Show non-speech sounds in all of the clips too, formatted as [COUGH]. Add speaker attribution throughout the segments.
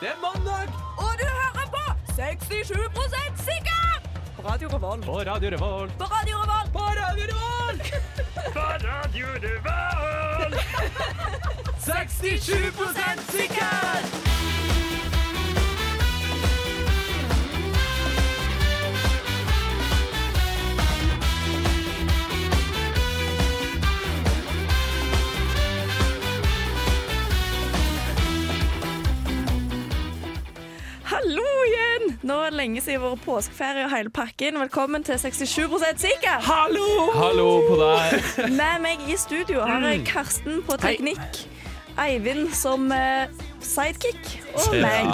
Speaker 1: Det er mandag
Speaker 2: Og du hører på 67 sikker! På Radio Revolt.
Speaker 1: på Radio Revolt.
Speaker 2: På Radio Revolt.
Speaker 1: På Radio Revolt!
Speaker 2: [LAUGHS]
Speaker 3: På Radio
Speaker 1: [LAUGHS]
Speaker 3: Revolt!
Speaker 1: 67 sikker!
Speaker 2: Hallo igjen! Nå er det lenge siden vår påskeferie og hele pakken. Velkommen til 67 sikker!
Speaker 1: Hallo!
Speaker 3: Hallo på deg.
Speaker 2: Med meg i studio har
Speaker 4: Mm.
Speaker 2: jeg Karsten på teknikk, Eivind som eh, sidekick og meg.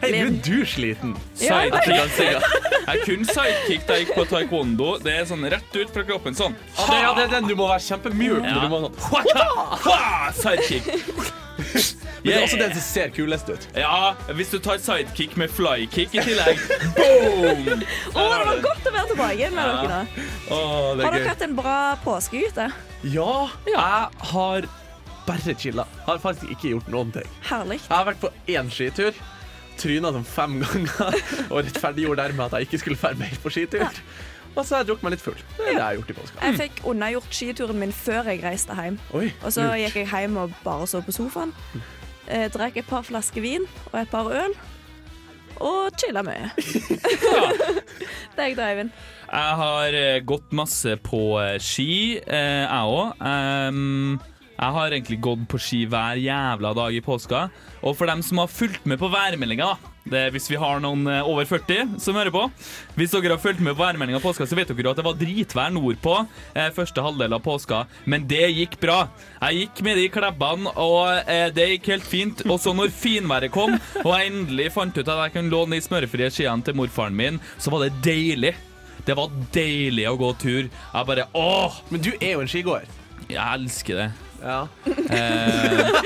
Speaker 3: Hei, ble du sliten?
Speaker 2: Ja, nei.
Speaker 4: Sidekick, altså. Jeg kunne sidekick da jeg gikk på taekwondo. Det er sånn rett ut fra kroppen. Sånn.
Speaker 1: Ja, det, ja, det er den du må være kjempemjuk når
Speaker 4: Ja.
Speaker 1: du må sånn.
Speaker 4: Ha! Sidekick.
Speaker 1: Men det er
Speaker 4: Yeah.
Speaker 1: også den som ser kulest ut.
Speaker 4: Ja, hvis du tar sidekick med flykick i tillegg. Boom!
Speaker 2: Å, det var godt å være tilbake igjen med dere nå.
Speaker 4: Å, det
Speaker 2: Har
Speaker 4: er
Speaker 2: dere
Speaker 4: gøy.
Speaker 2: hatt en bra påske ute?
Speaker 1: Ja, jeg har bare chilla. Har faktisk ikke gjort noen ting.
Speaker 2: Herlig.
Speaker 1: Jeg har vært på én skitur. Tryna sånn fem ganger [LAUGHS] og rettferdiggjorde dermed at jeg ikke skulle være mer på skitur. Og så har jeg drukket meg litt full. Det er det jeg har gjort i påska.
Speaker 2: Jeg fikk unnagjort skituren min før jeg reiste hjem.
Speaker 1: Oi,
Speaker 2: Og så
Speaker 1: lurt.
Speaker 2: gikk jeg hjem og bare så på sofaen. Eh, drakk et par flasker vin og et par øl. Og chilla mye. [LAUGHS] det er jeg, da, Eivind.
Speaker 4: Jeg har eh, gått masse på eh, ski, eh, jeg òg. Em, jeg har egentlig gått på ski hver jævla dag i påska. Og for dem som har fulgt med på værmeldinga, da, det er hvis vi har noen eh, over 40 som hører på Hvis dere har fulgt med på værmeldinga i påska, så vet dere jo at det var dritvær nordpå eh, første halvdel av påska, men det gikk bra. Jeg gikk med de klebbene, og eh, det gikk helt fint. Og så når finværet kom, og jeg endelig fant ut at jeg kunne låne de smørefrie skiene til morfaren min, så var det deilig. Det var deilig å gå tur. Jeg bare åh,
Speaker 1: Men du er jo en skigåer.
Speaker 4: jeg elsker det.
Speaker 1: Ja.
Speaker 4: Eh,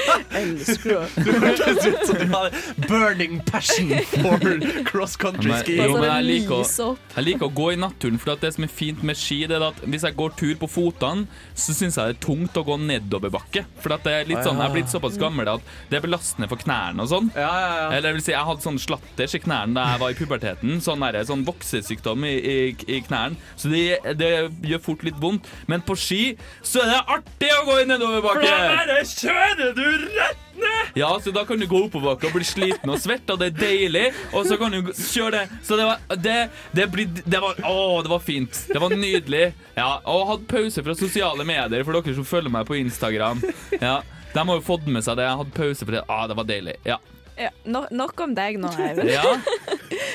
Speaker 1: [LAUGHS] Du hørtes ut som du hadde burning passion for cross country
Speaker 4: Men-
Speaker 1: ski.
Speaker 2: Bare
Speaker 4: Jo, men
Speaker 2: sånn
Speaker 4: jeg liker å-
Speaker 2: lyse opp.
Speaker 4: jeg liker å gå i naturen, for at det som er fint med ski, det er at hvis jeg går tur på fotene, så syns jeg det er tungt å gå nedoverbakke. For at det er litt sånn, jeg er blitt såpass gammel at det er belastende for knærne og sånn.
Speaker 1: Ja, ja, ja.
Speaker 4: Eller det vil si, jeg hadde sånn slatters i knærne da jeg var i puberteten. Sånn, der, sånn voksesykdom i, i, i knærne. Så det, det gjør fort litt vondt. Men på ski så er det artig å gå i nedoverbakke!
Speaker 3: kjører du rett ned!
Speaker 4: Ja, så da kan du gå oppoverbakke og bli sliten og svett, og det er deilig. Og så kan du gå- kjøre det. Så det var det, det, blir, det var, Å, det var fint. Det var nydelig. Ja, Og jeg hadde pause fra sosiale medier for dere som følger meg på Instagram. Ja, De har jo fått med seg det. Jeg hadde pause for det. Ah, det var deilig. Ja.
Speaker 2: Ja, no, nok om deg nå, Eivind.
Speaker 4: ja.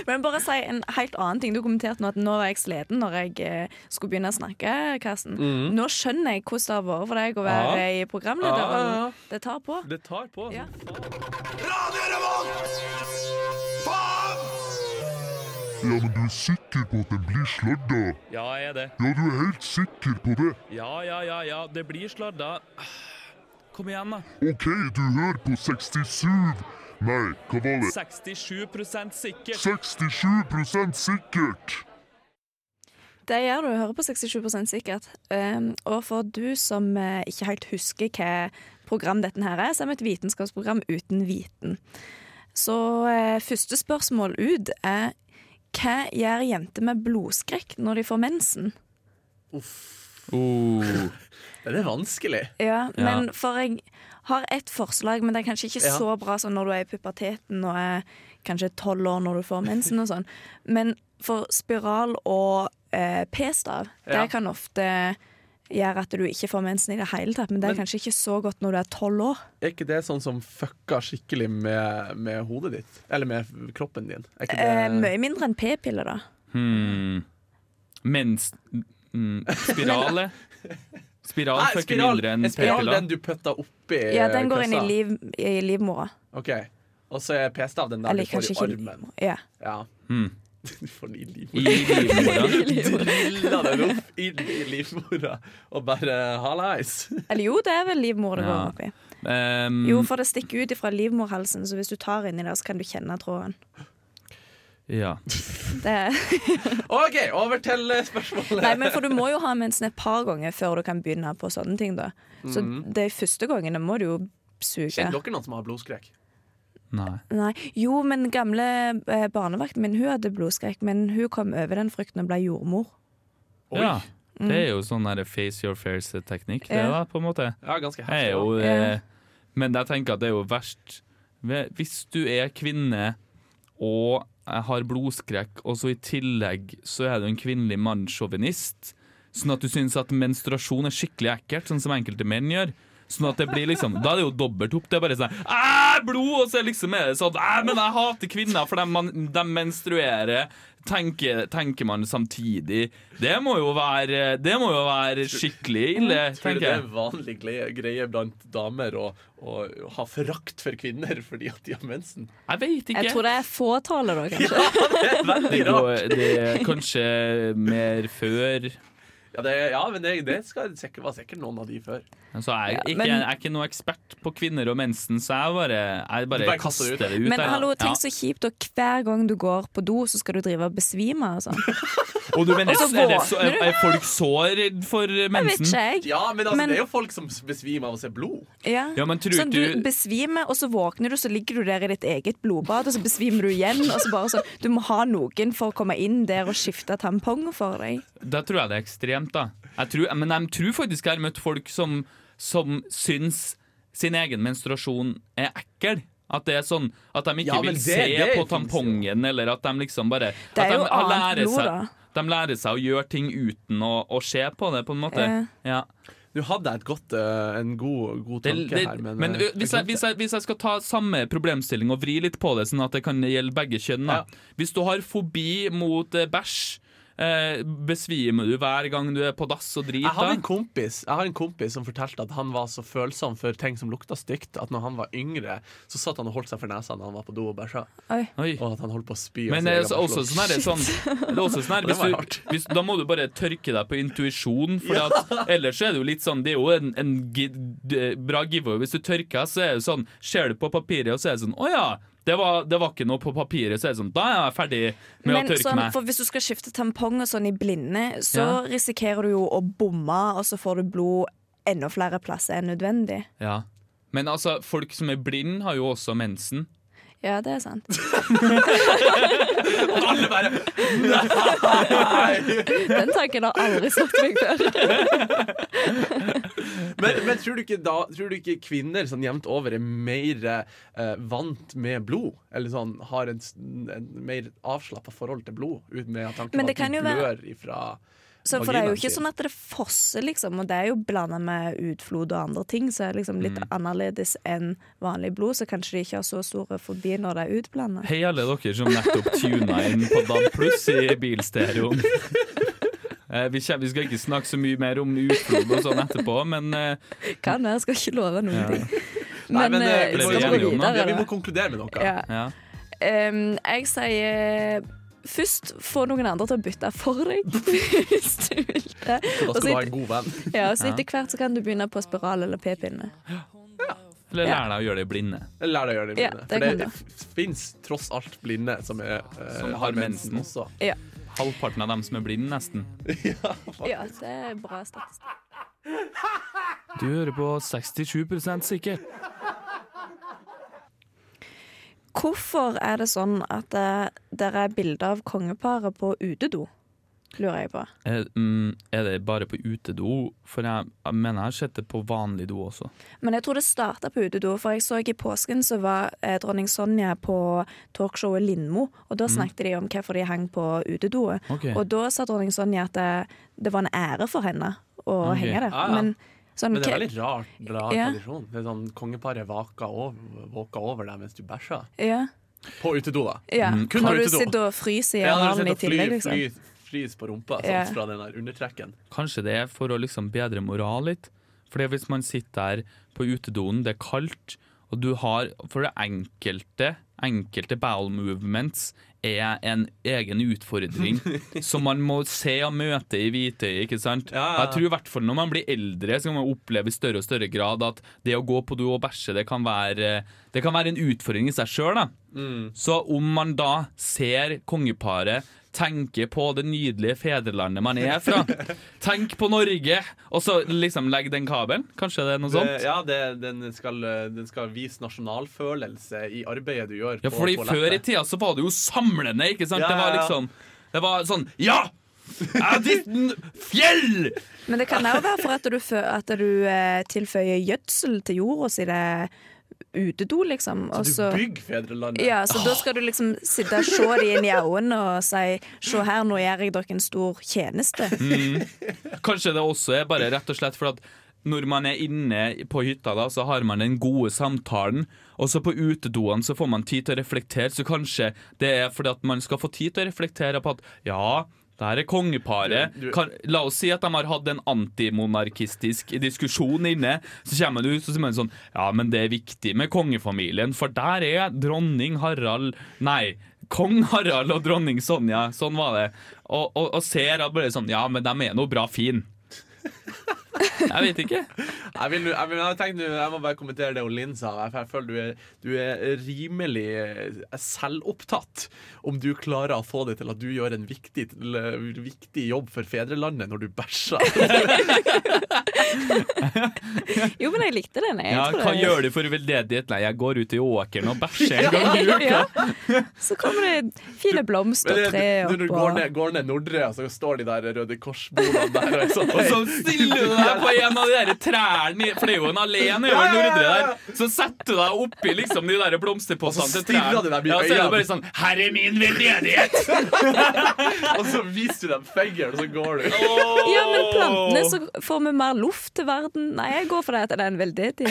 Speaker 2: Men bare si en helt annen ting. Du kommenterte nå at nå var jeg sliten når jeg eh, skulle begynne å snakke. Karsten.
Speaker 4: Mhm.
Speaker 2: Nå skjønner jeg hvordan det har vært for deg å være i programleder.
Speaker 1: Ja, ja.
Speaker 2: Det tar på.
Speaker 4: Det tar på.
Speaker 2: Ja.
Speaker 5: Ja, men du er sikker på at den blir sladda?
Speaker 4: Ja, jeg er det.
Speaker 5: Ja, du er helt sikker på det?
Speaker 4: Ja, ja, ja, ja. Det blir sladda. Kom igjen, da.
Speaker 5: OK, du hører på 67 Nei, hva var det?
Speaker 4: 67 sikkert.
Speaker 5: 67 sikkert!
Speaker 2: Det gjør du. Hører på 67 sikkert. Um, og for du som eh, ikke helt husker hva program dette her er, så er vi et vitenskapsprogram uten viten. Så eh, første spørsmål ut er hva gjør jenter med blodskrekk når de får mensen?
Speaker 4: Oh.
Speaker 1: Det er vanskelig.
Speaker 2: Ja, men for jeg har ett forslag, men det er kanskje ikke
Speaker 1: Ja.
Speaker 2: så bra som når du er i puberteten og er kanskje tolv år når du får mensen og sånn. Men for spiral og eh, p-stav,
Speaker 1: Ja.
Speaker 2: det kan ofte gjøre at du ikke får mensen i det hele tatt, men det er
Speaker 1: Men-
Speaker 2: kanskje ikke så godt når du er tolv år.
Speaker 1: Er ikke det sånn som fucka skikkelig med, med hodet ditt? Eller med kroppen din? Er ikke
Speaker 2: Eh,
Speaker 1: det...
Speaker 2: mye mindre enn p-piller, da.
Speaker 4: Hmm. Mens mm, Spirale. Spiral
Speaker 1: Nei,
Speaker 4: fucker
Speaker 1: spiral,
Speaker 4: mindre enn
Speaker 1: er spiral
Speaker 4: p-piller.
Speaker 1: den du putta oppi
Speaker 2: Ja, den går
Speaker 1: kassa?
Speaker 2: inn i, liv, i livmora.
Speaker 1: OK. Og så er p-stav den der
Speaker 2: Eller
Speaker 1: du får i
Speaker 2: kanskje ikke i
Speaker 1: armen.
Speaker 2: livmora. Ja.
Speaker 1: Ja. [LAUGHS]
Speaker 4: Hmm.
Speaker 1: Du får den i
Speaker 4: I
Speaker 1: livmora.
Speaker 2: [LAUGHS]
Speaker 4: livmora.
Speaker 1: Drilla den opp inn i livmora og bare eh, hallais.
Speaker 2: Eller jo, det er vel livmor det
Speaker 4: Ja.
Speaker 2: går oppi.
Speaker 4: Um,
Speaker 1: Mm.
Speaker 2: Jo, for det stikker ut ifra livmorhalsen, så hvis du tar inni der, så kan du kjenne tråden.
Speaker 4: ja.
Speaker 2: Det er
Speaker 1: OK, over til eh, spørsmålet.
Speaker 2: Nei, men for du må jo ha mensen et par ganger før du kan begynne på sånne
Speaker 4: Mm.
Speaker 2: ting. da Så de første gangene må du jo suge.
Speaker 1: Kjenner dere noen som har blodskrekk?
Speaker 4: Nei.
Speaker 2: Nei. Jo, men gamle eh, barnevakten min hun hadde blodskrekk, men hun kom over den frykten og ble jordmor.
Speaker 1: Oi.
Speaker 4: Ja. Det er jo sånn der face your fairs-teknikk, det
Speaker 2: Mm. Ja.
Speaker 4: da, på en måte.
Speaker 1: Ja, ganske
Speaker 4: Det
Speaker 1: heftig.
Speaker 4: er jo,
Speaker 1: da.
Speaker 4: eh, men jeg tenker at det er jo verst ved- Hvis du er kvinne og eh, har blodskrekk, og så i tillegg så er du en kvinnelig mannssjåvinist, sånn at du syns at menstruasjon er skikkelig ekkelt, sånn som enkelte menn gjør. Sånn at det blir liksom, Da er det jo dobbelt opp. Det er bare sånn Æ, blod! Og så er det liksom er det sånn Æ, men jeg hater kvinner, for de, man, de menstruerer. Tenker, tenker man samtidig. Det må jo være Det må jo være skikkelig
Speaker 1: Tror
Speaker 4: ille,
Speaker 1: du
Speaker 4: tenker
Speaker 1: det er
Speaker 4: jeg.
Speaker 1: en vanlig gle- greie blant damer å, å ha forakt for kvinner fordi at de har mensen?
Speaker 4: Jeg veit ikke.
Speaker 2: Jeg tror det er fåtallet, da, kanskje.
Speaker 1: Veldig
Speaker 4: Det,
Speaker 1: rart.
Speaker 4: går, det er kanskje mer før
Speaker 1: Ja, det, ja men det, det skal, sikkert- var sikkert noen av de før.
Speaker 4: altså, jeg,
Speaker 2: Ja,
Speaker 4: ikke,
Speaker 2: men-
Speaker 4: jeg er ikke noe ekspert på kvinner og mensen, så jeg bare, jeg
Speaker 1: Du
Speaker 4: bare,
Speaker 1: bare kaster
Speaker 4: kaster
Speaker 1: det ut.
Speaker 4: det ut.
Speaker 2: Men
Speaker 4: jeg.
Speaker 2: hallo,
Speaker 4: Ja.
Speaker 2: tenk så kjipt, og hver gang du går på do, så skal du drive og besvime og sånn.
Speaker 4: Og du mener,
Speaker 2: Og så
Speaker 4: er, det så,
Speaker 2: våkner
Speaker 4: er,
Speaker 2: du.
Speaker 4: er folk så redd for
Speaker 2: Jeg vet
Speaker 4: mensen?
Speaker 2: ikke, jeg.
Speaker 1: Ja, men, altså,
Speaker 2: Men-
Speaker 1: det er jo folk som besvimer av å se blod.
Speaker 2: Ja.
Speaker 4: Ja, men tror
Speaker 2: Sånn,
Speaker 4: du-
Speaker 2: du besvimer, og så våkner du, så ligger du der i ditt eget blodbad, og så besvimer du igjen. Og så bare sånn, Du må ha noen for å komme inn der og skifte tampong for deg.
Speaker 4: Da tror jeg det er ekstremt, da. Jeg tror, men jeg tror faktisk jeg har møtt folk som, som syns sin egen menstruasjon er ekkel. At det er sånn at de ikke
Speaker 1: Ja, men
Speaker 4: vil
Speaker 1: det-
Speaker 4: se
Speaker 1: det
Speaker 4: på
Speaker 1: finnes jo.
Speaker 4: tampongen, eller at de liksom bare
Speaker 2: Det
Speaker 4: at
Speaker 2: er
Speaker 4: de,
Speaker 2: jo
Speaker 4: har-
Speaker 2: annet
Speaker 4: lærer
Speaker 2: blod, da.
Speaker 4: seg, De lærer seg å gjøre ting uten å, å se på det, på en måte. Ja.
Speaker 1: Nå hadde jeg et godt, eh, en god, god
Speaker 4: Det,
Speaker 1: tanke
Speaker 4: det,
Speaker 1: her, men,
Speaker 4: men
Speaker 1: eh,
Speaker 4: ø, hvis jeg,
Speaker 1: glemte
Speaker 4: hvis, jeg, hvis jeg skal ta samme problemstilling og vri litt på det, sånn at det kan gjelde begge kjønn da.
Speaker 1: Ja.
Speaker 4: Hvis du har fobi mot eh, bæsj, eh, besvimer du hver gang du er på dass og driter?
Speaker 1: Jeg har, en kompis, jeg har en kompis som fortalte at han var så følsom for ting som lukta stygt, at når han var yngre, så satt han og holdt seg for nesa når han var på do og bæsja.
Speaker 4: Oi.
Speaker 1: Og at han holdt på å altså, spy. av
Speaker 4: Men
Speaker 1: sin
Speaker 4: det er
Speaker 1: egen
Speaker 4: også- også
Speaker 1: bæsj.
Speaker 4: sånn her, det er sånn, det er også sånn her
Speaker 1: Det
Speaker 4: hvis
Speaker 1: var
Speaker 4: du,
Speaker 1: hardt.
Speaker 4: hvis, Da må du bare tørke deg på intuisjon, for at, ellers er det jo litt sånn Det er jo en, en gi- d- bra giveaway. Hvis du tørker, så er det sånn Ser du på papiret, og så er det sånn Å ja, det var, det var ikke noe på papiret, så er det sånn Da er jeg ferdig med
Speaker 2: Men
Speaker 4: å tørke
Speaker 2: sånn,
Speaker 4: meg.
Speaker 2: for hvis du skal skifte tampong og sånn i blinde, så
Speaker 4: Ja.
Speaker 2: risikerer du jo å bomme, og så får du blod enda flere plasser enn nødvendig.
Speaker 4: Ja. Men altså, folk som er blind, har jo også mensen.
Speaker 2: Ja, det
Speaker 1: [LAUGHS]
Speaker 2: er sant.
Speaker 1: Og alle bare Nei!
Speaker 2: Den tanken har aldri slått meg før.
Speaker 1: [LAUGHS] Men, men tror, du ikke da, tror du ikke kvinner sånn jevnt over er mer eh, vant med blod? Eller sånn har en, s- en mer avslappa forhold til blod? ut Med at tanken
Speaker 2: Men
Speaker 1: på
Speaker 2: det kan
Speaker 1: at de
Speaker 2: jo være-
Speaker 1: blør ifra
Speaker 2: Så for det er jo
Speaker 1: vaginaen
Speaker 2: ikke
Speaker 1: sin.
Speaker 2: sånn at det fosser, liksom, og det er jo blanda med utflod og andre ting, så er det liksom litt annerledes enn vanlig blod, så kanskje de ikke har så store fobi når det er utblanda.
Speaker 4: Hei, alle dere som nettopp tuna inn på DAB pluss i
Speaker 1: [LAUGHS]
Speaker 4: bilstereoen. Eh, Vi, kjem- vi skal ikke snakke så mye mer om utflod og sånn etterpå, men eh,
Speaker 2: Kan være, skal ikke love noen ting.
Speaker 1: Nei,
Speaker 2: Men,
Speaker 1: eh,
Speaker 2: eh,
Speaker 1: vi
Speaker 2: vi
Speaker 1: må-
Speaker 4: ble
Speaker 2: skal
Speaker 4: enige
Speaker 2: gå
Speaker 4: om det.
Speaker 1: ja,
Speaker 2: videre.
Speaker 1: Vi må
Speaker 2: da.
Speaker 1: konkludere med noe.
Speaker 2: Ja.
Speaker 4: ja.
Speaker 2: Ehm, jeg sier Først få noen andre til å bytte for deg, [LAUGHS] hvis du vil det.
Speaker 1: Da skal
Speaker 2: Og så
Speaker 1: du ha
Speaker 2: etter-
Speaker 1: en god venn.
Speaker 2: Ja, og så etter hvert så kan du begynne på spiral eller p-pinne.
Speaker 4: Eller lære deg å gjøre deg blinde.
Speaker 1: Lær deg å gjøre det
Speaker 2: Ja,
Speaker 1: blinde.
Speaker 2: det
Speaker 1: For
Speaker 2: kan
Speaker 1: det
Speaker 2: du.
Speaker 1: f- finnes tross alt blinde som, er, eh,
Speaker 4: Som har
Speaker 1: har mensen
Speaker 4: mensen.
Speaker 1: også.
Speaker 2: Ja.
Speaker 4: Halvparten av dem som er blinde, nesten.
Speaker 2: ja, det er bra statistikk.
Speaker 4: Du hører på 67 sikkert.
Speaker 2: Hvorfor er det sånn at eh, det er bilder av kongeparet på utedo? Lurer jeg på.
Speaker 4: Er, mm, er det bare på utedo? For jeg, jeg mener jeg har sett det på vanlig do også.
Speaker 2: Men jeg tror det starta på utedo, for jeg så i påsken så var eh, dronning Sonja på talkshowet Lindmo, og
Speaker 1: Mm.
Speaker 2: da snakket de om hvorfor de hang på utedoet.
Speaker 4: Ok.
Speaker 2: Og da sa dronning Sonja at det, det var en ære for henne å
Speaker 4: Ok.
Speaker 2: henge der.
Speaker 1: Ah, Ja, ja.
Speaker 2: Men, sånn,
Speaker 1: Men det er
Speaker 2: hva-
Speaker 1: veldig rar, rar
Speaker 2: Ja.
Speaker 1: tradisjon. Det er sånn Kongeparet vaker over, våker over deg mens du bæsjer.
Speaker 2: ja,
Speaker 1: På utedo, da.
Speaker 2: ja.
Speaker 1: Mm. kun
Speaker 2: Når
Speaker 1: på
Speaker 2: du
Speaker 1: utedo.
Speaker 2: sitter og fryser i
Speaker 1: Ja, når du sitter
Speaker 2: armene i
Speaker 1: og
Speaker 2: tillegg,
Speaker 1: fly,
Speaker 2: liksom.
Speaker 1: fly, frys på rumpa sånn,
Speaker 2: Ja.
Speaker 1: fra den der undertrekken.
Speaker 4: Kanskje det er for å liksom bedre moral litt. Fordi hvis man sitter der på utedoen, det er kaldt, og du har For det enkelte, enkelte bowel movements er en egen
Speaker 1: [LAUGHS]
Speaker 4: utfordring som man må se og møte i hvitøyet, ikke sant?
Speaker 1: Ja, ja,
Speaker 4: Og
Speaker 1: ja.
Speaker 4: Jeg tror i hvert fall når man blir eldre, så kan man oppleve i større og større grad at det å gå på do og bæsje, det kan være, det kan være en utfordring i seg sjøl, da. Så om man da ser kongeparet tenker på det nydelige fedrelandet man er
Speaker 1: [LAUGHS]
Speaker 4: fra. Tenk på Norge! Og så liksom legg den kabelen. Kanskje det er noe sånt?
Speaker 1: Det, ja, det, den, skal, eh, den skal vise nasjonalfølelse i arbeidet du gjør.
Speaker 4: Ja,
Speaker 1: på
Speaker 4: fordi
Speaker 1: toalettet.
Speaker 4: før i tida så var det jo samlende, ikke sant?
Speaker 1: Ja,
Speaker 4: Det var
Speaker 1: ja, ja.
Speaker 4: liksom Det var sånn Ja! Jeg ditt fjell!
Speaker 2: Men det kan òg være for at du, fø- at du eh, tilføyer gjødsel til jorda si det er utedo, liksom. Og
Speaker 1: Så du bygger fedrelandet.
Speaker 2: ja, så da skal du liksom sitte og se dem inn i øynene og si Se her, nå gjør jeg dere en stor tjeneste.
Speaker 1: Mm.
Speaker 4: Kanskje det også er bare rett og slett for at når man er inne på hytta, da, så har man den gode samtalen. Og så på utedoene så får man tid til å reflektere, så kanskje det er fordi at man skal få tid til å reflektere på at ja, det her er kongeparet.
Speaker 1: Du- du-
Speaker 4: Kan, la oss si at de har hatt en antimonarkistisk diskusjon inne. Så kommer man ut og sier man sånn Ja, men det er viktig med kongefamilien, for der er dronning Harald Nei. Kong Harald og dronning Sonja, sånn var det. Og, og, og ser at bare sånn Ja, men de er nå bra fin. Jeg vet ikke.
Speaker 1: Jeg, vil, jeg, vil, jeg, tenkte, nå- jeg må bare kommentere det Linn sa. for Jeg føler du er, du er rimelig eh, selvopptatt om du klarer å få det til at du gjør en viktig, l- viktig jobb for fedrelandet når du
Speaker 2: [LAUGHS]
Speaker 1: bæsjer.
Speaker 2: Jo, men jeg likte den. Jeg
Speaker 4: Ja,
Speaker 2: tror
Speaker 4: hva
Speaker 2: det-
Speaker 4: gjør du for veldedighet? Nei, jeg går ut i åkeren og bæsjer en gang i uka.
Speaker 2: [LAUGHS] ja. Så kommer det fine blomster
Speaker 1: Men
Speaker 2: og
Speaker 1: det-
Speaker 2: tre
Speaker 1: Når du
Speaker 2: opp
Speaker 1: går
Speaker 2: og
Speaker 1: ned, går ned Nordre, og så står de der Røde Kors-bodene der og er sånn
Speaker 4: Og så stiller du deg på en av de der trærne i- For det er jo en alene over Nordre der Så setter du deg oppi liksom de der blomsterpostene
Speaker 1: Og så
Speaker 4: til trærne
Speaker 1: stirrer du dem i
Speaker 4: Ja, så er det
Speaker 1: øynene.
Speaker 4: bare sånn Her er min veldedighet
Speaker 1: Og så viser du dem fingeren, og så går du.
Speaker 2: Ja, men plantene, så får vi mer luft til verden. Nei, jeg går for det at det er en
Speaker 1: [LAUGHS]
Speaker 2: veldedighet. jeg.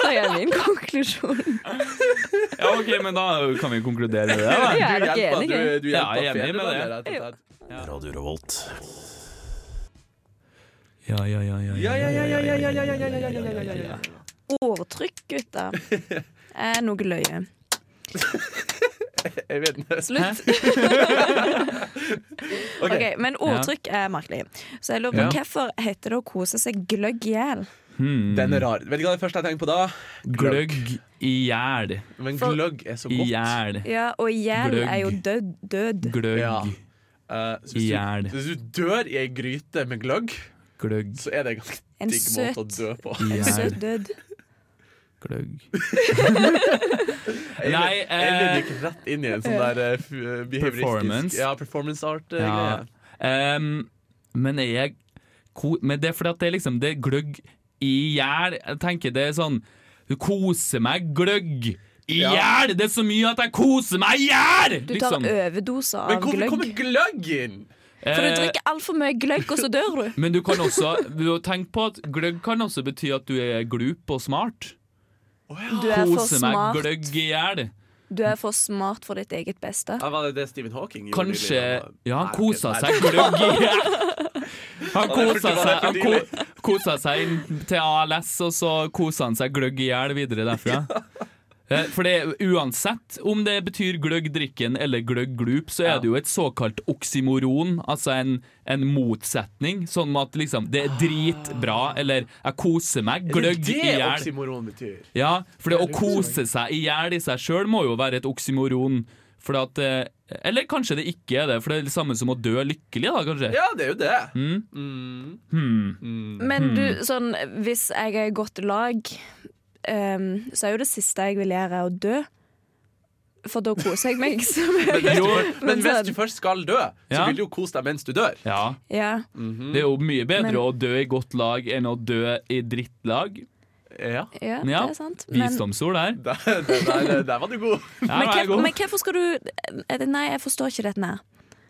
Speaker 2: Så er min konklusjon.
Speaker 4: Ja, ok, men da kan vi konkludere med det da
Speaker 2: Ja, er
Speaker 1: Du
Speaker 2: dere
Speaker 1: hjelper, du,
Speaker 2: enige?
Speaker 1: du
Speaker 4: Ja,
Speaker 1: hjelper
Speaker 4: jeg er enig med
Speaker 1: fedrelandet,
Speaker 4: det.
Speaker 1: rett og slett.
Speaker 6: Radio Revolt.
Speaker 4: Ja, ja, ja, ja, ja, ja, ja, ja, ja, ja, ja, ja, ja, ja, ja.
Speaker 2: Ordtrykk, gutter, er noe løye.
Speaker 1: Jeg vet ikke.
Speaker 2: Slutt.
Speaker 1: Ok.
Speaker 2: [LAUGHS] Ok, Men ordtrykk er merkelig. Så jeg lurer på
Speaker 4: Ja.
Speaker 2: hvorfor heter det å kose seg gløgg i hjel?
Speaker 4: Hmm.
Speaker 1: Den er rar. Vet du hva det første jeg tenker på da?
Speaker 4: Gløgg i hjel
Speaker 1: Men
Speaker 2: For-
Speaker 1: gløgg er så
Speaker 4: I
Speaker 1: godt.
Speaker 4: hjel
Speaker 2: Ja, og hjel
Speaker 4: Gløgg.
Speaker 2: er jo død. død.
Speaker 1: Ja.
Speaker 4: Gløgg,
Speaker 1: Eh, så
Speaker 4: I
Speaker 1: hvis,
Speaker 4: hjel.
Speaker 1: du, hvis du dør i ei gryte med gløgg,
Speaker 4: gløgg,
Speaker 1: så er det en ganske
Speaker 2: En
Speaker 1: digg måte å
Speaker 2: søt-
Speaker 1: dø på.
Speaker 4: i hjel
Speaker 2: Søt død.
Speaker 4: Gløgg
Speaker 1: Eileen-
Speaker 4: Nei, eh,
Speaker 1: Eileen gikk rett inn i en sånn der eh, f- eh, behavioristisk
Speaker 4: Performance.
Speaker 1: Ja, performance eh,
Speaker 4: Ja.
Speaker 1: art-greie.
Speaker 4: Ehm, men er jeg ko Men det er fordi at det er liksom Det er gløgg i hjel. Jeg tenker det er sånn Du koser meg gløgg i
Speaker 1: Ja.
Speaker 4: hjel! Det er så mye at jeg koser meg i hjel! liksom.
Speaker 2: Du tar overdose av
Speaker 1: sånn- Men hvorfor
Speaker 2: gløgg.
Speaker 1: kommer Eh, gløgg inn?!
Speaker 2: For du drikker altfor mye gløgg, og så
Speaker 1: [LAUGHS]
Speaker 2: dør du.
Speaker 4: Eh, men du kan også tenke på at gløgg kan også bety at du er glup og smart.
Speaker 2: Du er for
Speaker 4: Kose meg
Speaker 2: smart.
Speaker 4: gløgg i hjel.
Speaker 2: Du er for smart for ditt eget beste.
Speaker 1: Ja, var det det Stephen Hawking gjorde?
Speaker 4: Kanskje
Speaker 1: nylig?
Speaker 4: Ja, han
Speaker 1: Nei,
Speaker 4: kosa
Speaker 1: ok, nei.
Speaker 4: seg gløgg i hjel.
Speaker 1: [LAUGHS]
Speaker 4: Han
Speaker 1: det er
Speaker 4: kosa
Speaker 1: for- det er
Speaker 4: seg,
Speaker 1: for
Speaker 4: han ko kosa seg inn til ALS, og så kosa han seg gløgg i hjel videre derfra.
Speaker 1: [LAUGHS]
Speaker 4: Eh, For det, uansett om det betyr gløgg drikken eller gløgg glup, så er det jo et såkalt oksymoron, altså en, en motsetning. Sånn at liksom det er dritbra, eller jeg koser meg gløgg i
Speaker 1: Det er det
Speaker 4: hjel.
Speaker 1: oksymoron betyr.
Speaker 4: Ja, for det å
Speaker 1: Det er litt
Speaker 4: kose seg i hjel i seg sjøl må jo være et oksymoron. For at, eh, eller kanskje det ikke er det, for det er det samme som å dø lykkelig, da, kanskje.
Speaker 1: Ja, det er jo det.
Speaker 4: Mm.
Speaker 2: Men du, sånn, hvis jeg er i godt lag, ehm, så er jo det siste jeg vil gjøre, å dø. For da koser jeg meg så mye.
Speaker 4: Jo,
Speaker 1: [LAUGHS] Men
Speaker 2: Men
Speaker 1: hvis
Speaker 2: sånn-
Speaker 1: du først skal dø, så
Speaker 4: Ja.
Speaker 1: vil du jo kose deg mens du dør.
Speaker 4: ja.
Speaker 2: Ja.
Speaker 4: Det er jo mye bedre
Speaker 2: Men-
Speaker 4: å dø i godt lag enn å dø i drittlag.
Speaker 1: [LAUGHS] Ja,
Speaker 2: Ja,
Speaker 4: Ja,
Speaker 2: det er sant. Men,
Speaker 4: Visdomsord der.
Speaker 1: Der, der, der, der var du god.
Speaker 4: Ja,
Speaker 2: men,
Speaker 4: vær
Speaker 2: hvorfor,
Speaker 4: god.
Speaker 2: men hvorfor skal du eh, Nei, jeg forstår ikke dette her.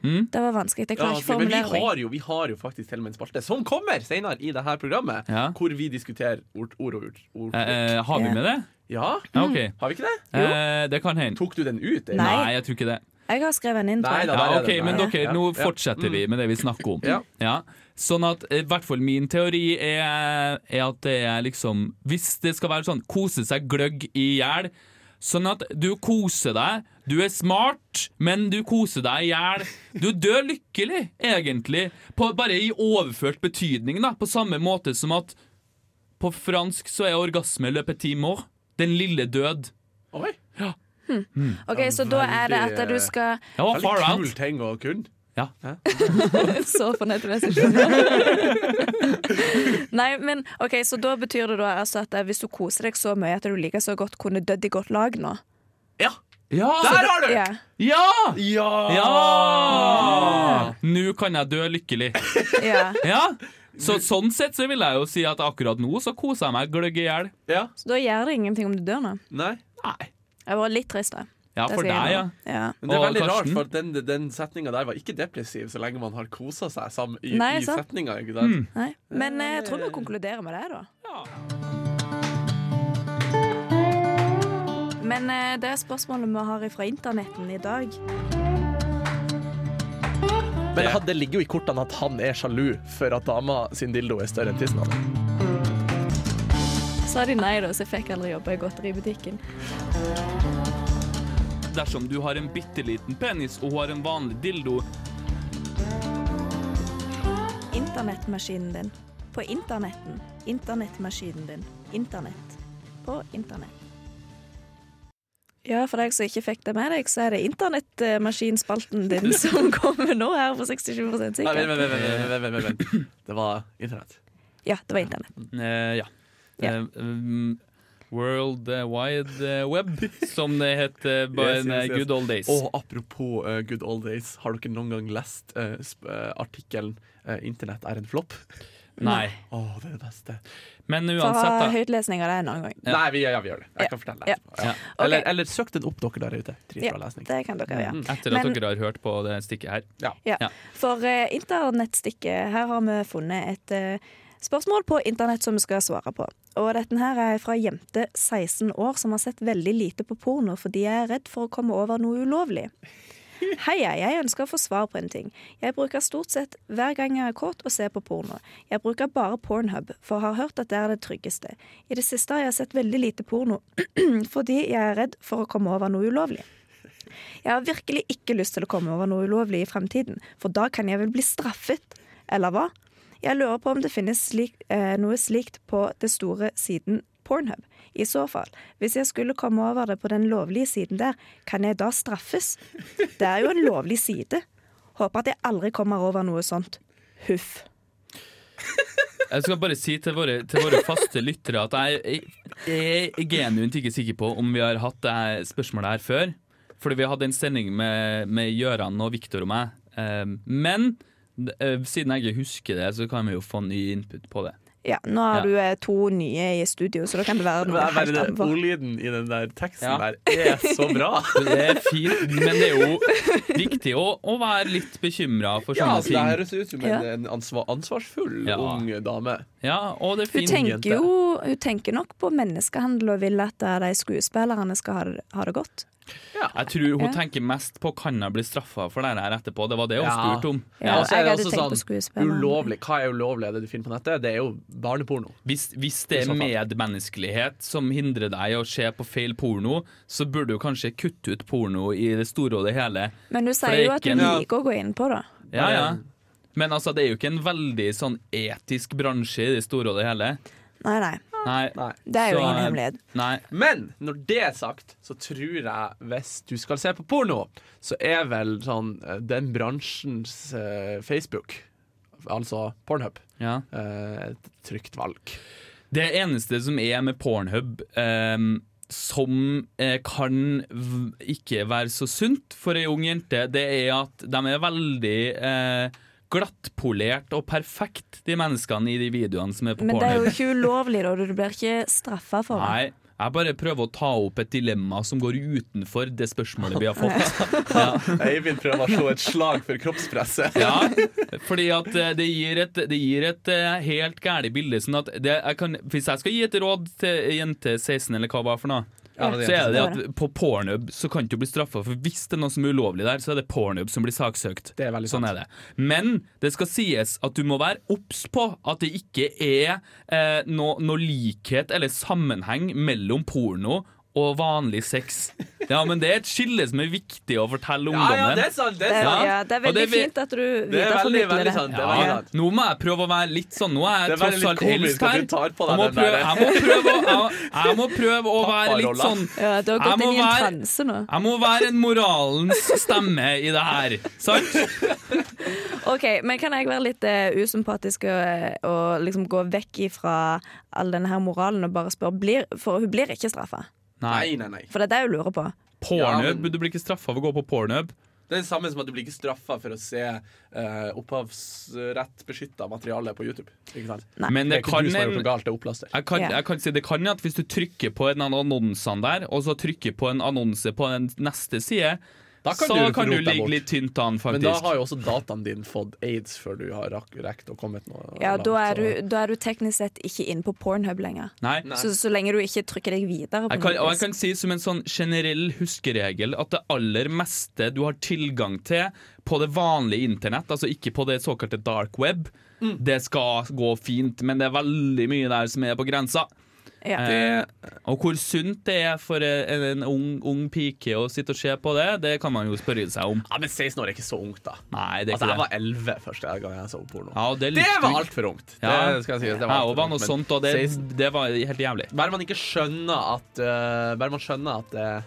Speaker 4: Mm.
Speaker 2: Det var vanskelig. Jeg klarer
Speaker 1: Hmm? Ja,
Speaker 2: ikke å
Speaker 1: men vi
Speaker 2: formulere meg.
Speaker 1: har, jo, vi har jo faktisk til og med en spalte som kommer senere i det her programmet,
Speaker 4: Ja.
Speaker 1: hvor vi diskuterer ord, ord og ord. ord.
Speaker 4: Eh, eh, har vi med det?
Speaker 1: Ja,
Speaker 4: Ja, OK.
Speaker 1: har vi ikke det?
Speaker 4: Eh, det kan hende.
Speaker 1: Tok du den ut? Eivind?
Speaker 2: Mm. Nei.
Speaker 4: Nei, jeg tror ikke det.
Speaker 2: Jeg har skrevet den inn. tror
Speaker 1: Nei,
Speaker 2: jeg.
Speaker 1: da.
Speaker 4: Ja,
Speaker 1: der er
Speaker 4: ok,
Speaker 1: den,
Speaker 4: Men
Speaker 1: der.
Speaker 4: dere,
Speaker 1: Ja,
Speaker 4: nå
Speaker 1: ja.
Speaker 4: fortsetter vi med det vi snakker om.
Speaker 1: Ja.
Speaker 4: Sånn at i hvert fall min teori er, er at det er liksom Hvis det skal være sånn kose seg gløgg i hjel, sånn at du koser deg, du er smart, men du koser deg i hjel. Du dør lykkelig, egentlig. På, bare i overført betydning, da. På samme måte som at på fransk så er orgasme le petit mort. Den lille død.
Speaker 1: Oi.
Speaker 2: Ok, Så da er det at
Speaker 4: eh,
Speaker 2: du
Speaker 4: [LAUGHS]
Speaker 2: skal
Speaker 4: Det var far
Speaker 1: Veldig kul
Speaker 4: out.
Speaker 1: ting å kunne.
Speaker 4: Ja.
Speaker 2: Så [LAUGHS] fornøyd med det som skjer. Nei, men ok, så da betyr det da altså at hvis du koser deg så mye at du liker så godt, kunne dødd i godt lag nå.
Speaker 1: Ja!
Speaker 4: Ja! altså,
Speaker 1: Der har du!
Speaker 2: Altså, Ja.
Speaker 4: Ja!
Speaker 1: Ja!
Speaker 2: Ah.
Speaker 4: ja! Nå kan jeg dø lykkelig.
Speaker 2: ja.
Speaker 4: Ja. Så, sånn sett så vil jeg jo si at akkurat nå så koser jeg meg gløgg i hjel.
Speaker 1: Ja.
Speaker 2: Så da gjør det ingenting om du dør nå.
Speaker 1: Nei.
Speaker 4: Nei.
Speaker 2: Jeg var litt trist, da.
Speaker 4: Ja,
Speaker 2: Det
Speaker 4: for
Speaker 2: sier
Speaker 4: deg, ja.
Speaker 2: jeg nå. ja.
Speaker 1: Men det er
Speaker 4: Og
Speaker 1: veldig
Speaker 4: Karsten?
Speaker 1: rart, for den, den setninga der var ikke depressiv, så lenge man har kosa seg sammen i,
Speaker 2: Nei,
Speaker 1: i
Speaker 2: sant.
Speaker 1: setninga. Ikke sant?
Speaker 2: Nei. Men eh, jeg tror vi konkluderer med det, da. Men eh, det er spørsmålet vi har fra internetten i dag.
Speaker 1: Men han- det ligger jo i kortene at han er sjalu for at dama sin dildo er større enn tissen hans.
Speaker 2: Sa de nei, da, så jeg fikk aldri jobbe i godteributikken.
Speaker 4: Dersom du har en bitte liten penis og hun har en vanlig dildo
Speaker 2: Internettmaskinen din. På internetten. Internettmaskinen din. Internett. På internett. Ja, for deg som ikke fikk det med deg, så er det internettmaskinspalten din som kommer nå her på 67
Speaker 1: Nei, vent,
Speaker 2: sikkert.
Speaker 1: vent, vent, vent, vent, vent, vent, vent. Det var internett.
Speaker 2: Ja, det var internett.
Speaker 4: eh, Ja.
Speaker 2: Ja.
Speaker 4: Eh, mm, World Wide eh,
Speaker 2: [LAUGHS]
Speaker 4: Web, som det het eh, by
Speaker 1: Yes,
Speaker 4: in, eh,
Speaker 1: yes, yes.
Speaker 4: good old days.
Speaker 1: Og apropos eh, good old days, har dere noen gang lest eh, sp- eh, artikkelen eh, 'Internett er en flopp'?
Speaker 4: Nei.
Speaker 1: Å, det er det beste.
Speaker 4: Men
Speaker 2: For å ha
Speaker 4: uansett, da.
Speaker 2: høytlesning av det en annen gang.
Speaker 1: Nei, vi, ja, vi gjør det. Jeg kan fortelle det
Speaker 2: Ja.
Speaker 1: etterpå. Ja.
Speaker 2: Ok.
Speaker 1: Eller, eller søk den opp, dere der ute. Dritbra
Speaker 2: Ja,
Speaker 1: lesning.
Speaker 2: det kan dere gjøre.
Speaker 4: Etter at
Speaker 2: Men-
Speaker 4: dere har hørt på det stikket her.
Speaker 2: Ja.
Speaker 4: Ja.
Speaker 2: For eh, internettstikket, her har vi funnet et eh, spørsmål på internett som vi skal svare på. Og dette her er fra jente 16 år som har sett veldig lite på porno fordi jeg er redd for å komme over noe ulovlig. Hei, hei, jeg ønsker å få svar på en ting. Jeg bruker stort sett hver gang jeg er kåt og ser på porno. Jeg bruker bare Pornhub, for har hørt at det er det tryggeste. I det siste har jeg sett veldig lite porno [CLEARS THROAT] fordi jeg er redd for å komme over noe ulovlig. Jeg har virkelig ikke lyst til å komme over noe ulovlig i fremtiden, for da kan jeg vel bli straffet, eller hva? Jeg lurer på om det finnes slik, eh, noe slikt på det store siden Pornhub. I så fall, hvis jeg skulle komme over det på den lovlige siden der, kan jeg da straffes? Det er jo en lovlig side. Håper at jeg aldri kommer over noe sånt. Huff.
Speaker 4: Jeg skal bare si til våre, til våre faste lyttere at jeg, jeg er genuint ikke sikker på om vi har hatt det her spørsmålet her før. Fordi vi hadde en sending med, med Gøran og Viktor og meg. Eh, Men eh, siden jeg ikke husker det, så kan vi jo få ny input på det.
Speaker 2: Ja, nå
Speaker 4: Ja.
Speaker 2: har du eh, to nye i studio, så da kan det være
Speaker 1: Men
Speaker 2: noe
Speaker 1: det er bare
Speaker 2: helt
Speaker 1: den
Speaker 2: annet.
Speaker 1: ordlyden i den der teksten
Speaker 4: Ja.
Speaker 1: der er så bra.
Speaker 4: Det er fint, men det er jo viktig å, å være litt bekymra
Speaker 1: [LAUGHS]
Speaker 4: for
Speaker 1: Ja,
Speaker 4: sånne
Speaker 1: altså, det
Speaker 4: ting.
Speaker 1: høres ut som en,
Speaker 2: Ja.
Speaker 1: en ansvar, ansvarsfull
Speaker 4: Ja.
Speaker 1: ung dame.
Speaker 4: Ja, og det er
Speaker 2: Hun
Speaker 4: fint.
Speaker 1: jente.
Speaker 2: tenker jo hun tenker nok på menneskehandel og vil at eh, de skuespillerne skal ha det, ha det godt.
Speaker 4: Jeg tror hun
Speaker 2: Ja.
Speaker 4: tenker mest på kan jeg bli straffa for det her etterpå. Det var det hun
Speaker 1: Ja.
Speaker 4: spurte om.
Speaker 2: Ja,
Speaker 1: og så er
Speaker 2: jeg
Speaker 1: det
Speaker 2: hadde
Speaker 1: også
Speaker 2: tenkt på
Speaker 1: sånn,
Speaker 2: skuespillerne.
Speaker 1: Ulovlig. Hva er ulovlig? Er det du finner på nettet? Det er jo barneporno.
Speaker 4: Hvis, hvis det
Speaker 1: I
Speaker 4: er
Speaker 1: så fall.
Speaker 4: medmenneskelighet som hindrer deg å se på feil porno, så burde du kanskje kutte ut porno i det store og det hele.
Speaker 2: Men hun
Speaker 4: det
Speaker 2: sier
Speaker 4: er
Speaker 2: jo at
Speaker 4: ikke
Speaker 2: hun
Speaker 4: en-
Speaker 2: liker å gå inn på det.
Speaker 4: Ja, ja. Men altså, det er jo ikke en veldig sånn etisk bransje i det store og det hele.
Speaker 2: Nei, nei.
Speaker 4: Ah, Nei.
Speaker 1: Nei.
Speaker 2: Det er jo
Speaker 4: Så,
Speaker 2: ingen
Speaker 4: eh,
Speaker 2: hemmelighet.
Speaker 4: Nei.
Speaker 1: Men når det er sagt, så tror jeg hvis du skal se på porno, så er vel sånn eh, den bransjens eh, Facebook, altså Pornhub,
Speaker 4: Ja.
Speaker 1: eh, et trygt valg.
Speaker 4: Det eneste som er med Pornhub ehm, som eh, kan v- ikke være så sunt for ei ung jente, det er at de er veldig eh, glattpolert og perfekt, de menneskene i de videoene som er på
Speaker 2: Men det er
Speaker 4: Pornhub.
Speaker 2: jo ikke ulovlig, da. Du blir ikke straffa for det.
Speaker 4: Nei, jeg bare prøver å ta opp et dilemma som går utenfor det spørsmålet vi har fått. Ja,
Speaker 1: [LAUGHS] Eivind prøver å slå et slag for kroppspresset.
Speaker 4: [LAUGHS] ja fordi at eh, det gir et, det gir et eh, helt gærent bilde. Sånn at det, jeg kan, hvis jeg skal gi et råd til ei jente 16 eller hva det var for noe,
Speaker 1: Ja, det
Speaker 4: så er det det
Speaker 2: som er
Speaker 4: at på Pornhub så kan du ikke bli straffa, for hvis det er noe som er ulovlig der, så er det Pornhub som blir saksøkt.
Speaker 1: Det er veldig
Speaker 4: sånn
Speaker 1: sant.
Speaker 4: er det. Men det skal sies at du må være obs på at det ikke er eh, noe noe likhet eller sammenheng mellom porno og vanlig sex. Ja, men det er et skille som er viktig å fortelle
Speaker 1: Ja, ja,
Speaker 4: ungdommen.
Speaker 1: det er sant! Det
Speaker 2: Det
Speaker 1: er
Speaker 2: er,
Speaker 1: sant.
Speaker 2: ja, det er
Speaker 4: Og
Speaker 2: veldig
Speaker 4: det er vi-
Speaker 2: fint at du
Speaker 1: Det er veldig,
Speaker 2: videreformidler
Speaker 1: veldig
Speaker 2: det.
Speaker 1: sant. Det er
Speaker 4: Ja.
Speaker 1: veldig sant.
Speaker 4: Nå må jeg prøve å være litt sånn Nå er
Speaker 1: Det
Speaker 4: jeg
Speaker 1: er veldig
Speaker 4: tross
Speaker 1: litt
Speaker 4: alt
Speaker 1: komisk
Speaker 4: eldst
Speaker 1: at
Speaker 4: her.
Speaker 1: du tar på
Speaker 4: Jeg
Speaker 1: deg
Speaker 4: må
Speaker 1: den
Speaker 4: prøve,
Speaker 1: der.
Speaker 4: jeg må prøve, å- jeg, jeg må prøve å være litt
Speaker 1: Papparolla.
Speaker 4: sånn
Speaker 2: Ja, du har
Speaker 4: Jeg
Speaker 2: gått inn
Speaker 4: må
Speaker 2: i en
Speaker 4: være-
Speaker 2: transe nå.
Speaker 4: Jeg må være en moralens stemme i det her. Sant?
Speaker 2: Ok, men Kan jeg være litt eh, usympatisk og, og liksom gå vekk ifra all denne her moralen og bare spørre blir, For hun blir ikke straffa.
Speaker 4: Nei.
Speaker 1: Nei, nei, nei.
Speaker 2: For det er det hun lurer på.
Speaker 1: Ja,
Speaker 4: Pornhub.
Speaker 1: men-
Speaker 4: Du blir ikke straffa for å gå på pornhub.
Speaker 1: Det er det samme som at du blir ikke straffa for å se uh, opphavsrettbeskytta materiale på YouTube. Ikke sant?
Speaker 2: Nei.
Speaker 4: Men det
Speaker 1: er ikke
Speaker 4: kan
Speaker 1: du som har
Speaker 4: en
Speaker 1: gjort noe galt, det er opplaster.
Speaker 4: jeg kan,
Speaker 2: Ja.
Speaker 4: jeg kan si det kan jo at hvis du trykker på en av annonsene der, og så trykker på en annonse på den neste side,
Speaker 1: Da kan
Speaker 4: så
Speaker 1: du
Speaker 4: kan
Speaker 1: rote
Speaker 4: du
Speaker 1: deg
Speaker 4: ligge
Speaker 1: bort.
Speaker 4: litt tynt an,
Speaker 1: Men
Speaker 4: faktisk.
Speaker 1: da har jo også dataen din fått aids før du har rak rekt å komme ut noe.
Speaker 2: Ja,
Speaker 1: langt,
Speaker 2: da er,
Speaker 1: så-
Speaker 2: du, da er du teknisk sett ikke inne på pornhub lenger.
Speaker 4: Nei.
Speaker 2: Så, så lenge du ikke trykker deg videre. på
Speaker 4: Jeg kan,
Speaker 2: noe
Speaker 4: og
Speaker 2: vis.
Speaker 4: jeg kan si som en sånn generell huskeregel at det aller meste du har tilgang til på det vanlige internett, altså ikke på det såkalte dark web,
Speaker 1: Mm.
Speaker 4: det skal gå fint, men det er veldig mye der som er på grensa.
Speaker 2: ja.
Speaker 4: Eh, og hvor sunt det er for en, en ung, ung pike å sitte og se på det, det kan man jo spørre seg om.
Speaker 1: Ja, Men 16 år er ikke så ungt, da.
Speaker 4: Nei, det er
Speaker 1: Altså, Jeg
Speaker 4: ikke det.
Speaker 1: var 11 første gang jeg så porno.
Speaker 4: Ja, og det,
Speaker 1: Det var altfor ungt.
Speaker 4: Ja.
Speaker 1: Det skal jeg si. Det var
Speaker 4: Jeg
Speaker 1: alt
Speaker 4: òg
Speaker 1: for
Speaker 4: var
Speaker 1: ungt,
Speaker 4: noe
Speaker 1: men
Speaker 4: sånt, og det,
Speaker 1: 16
Speaker 4: det var helt jævlig.
Speaker 1: Bare man ikke skjønner at eh, Bare man skjønner at eh,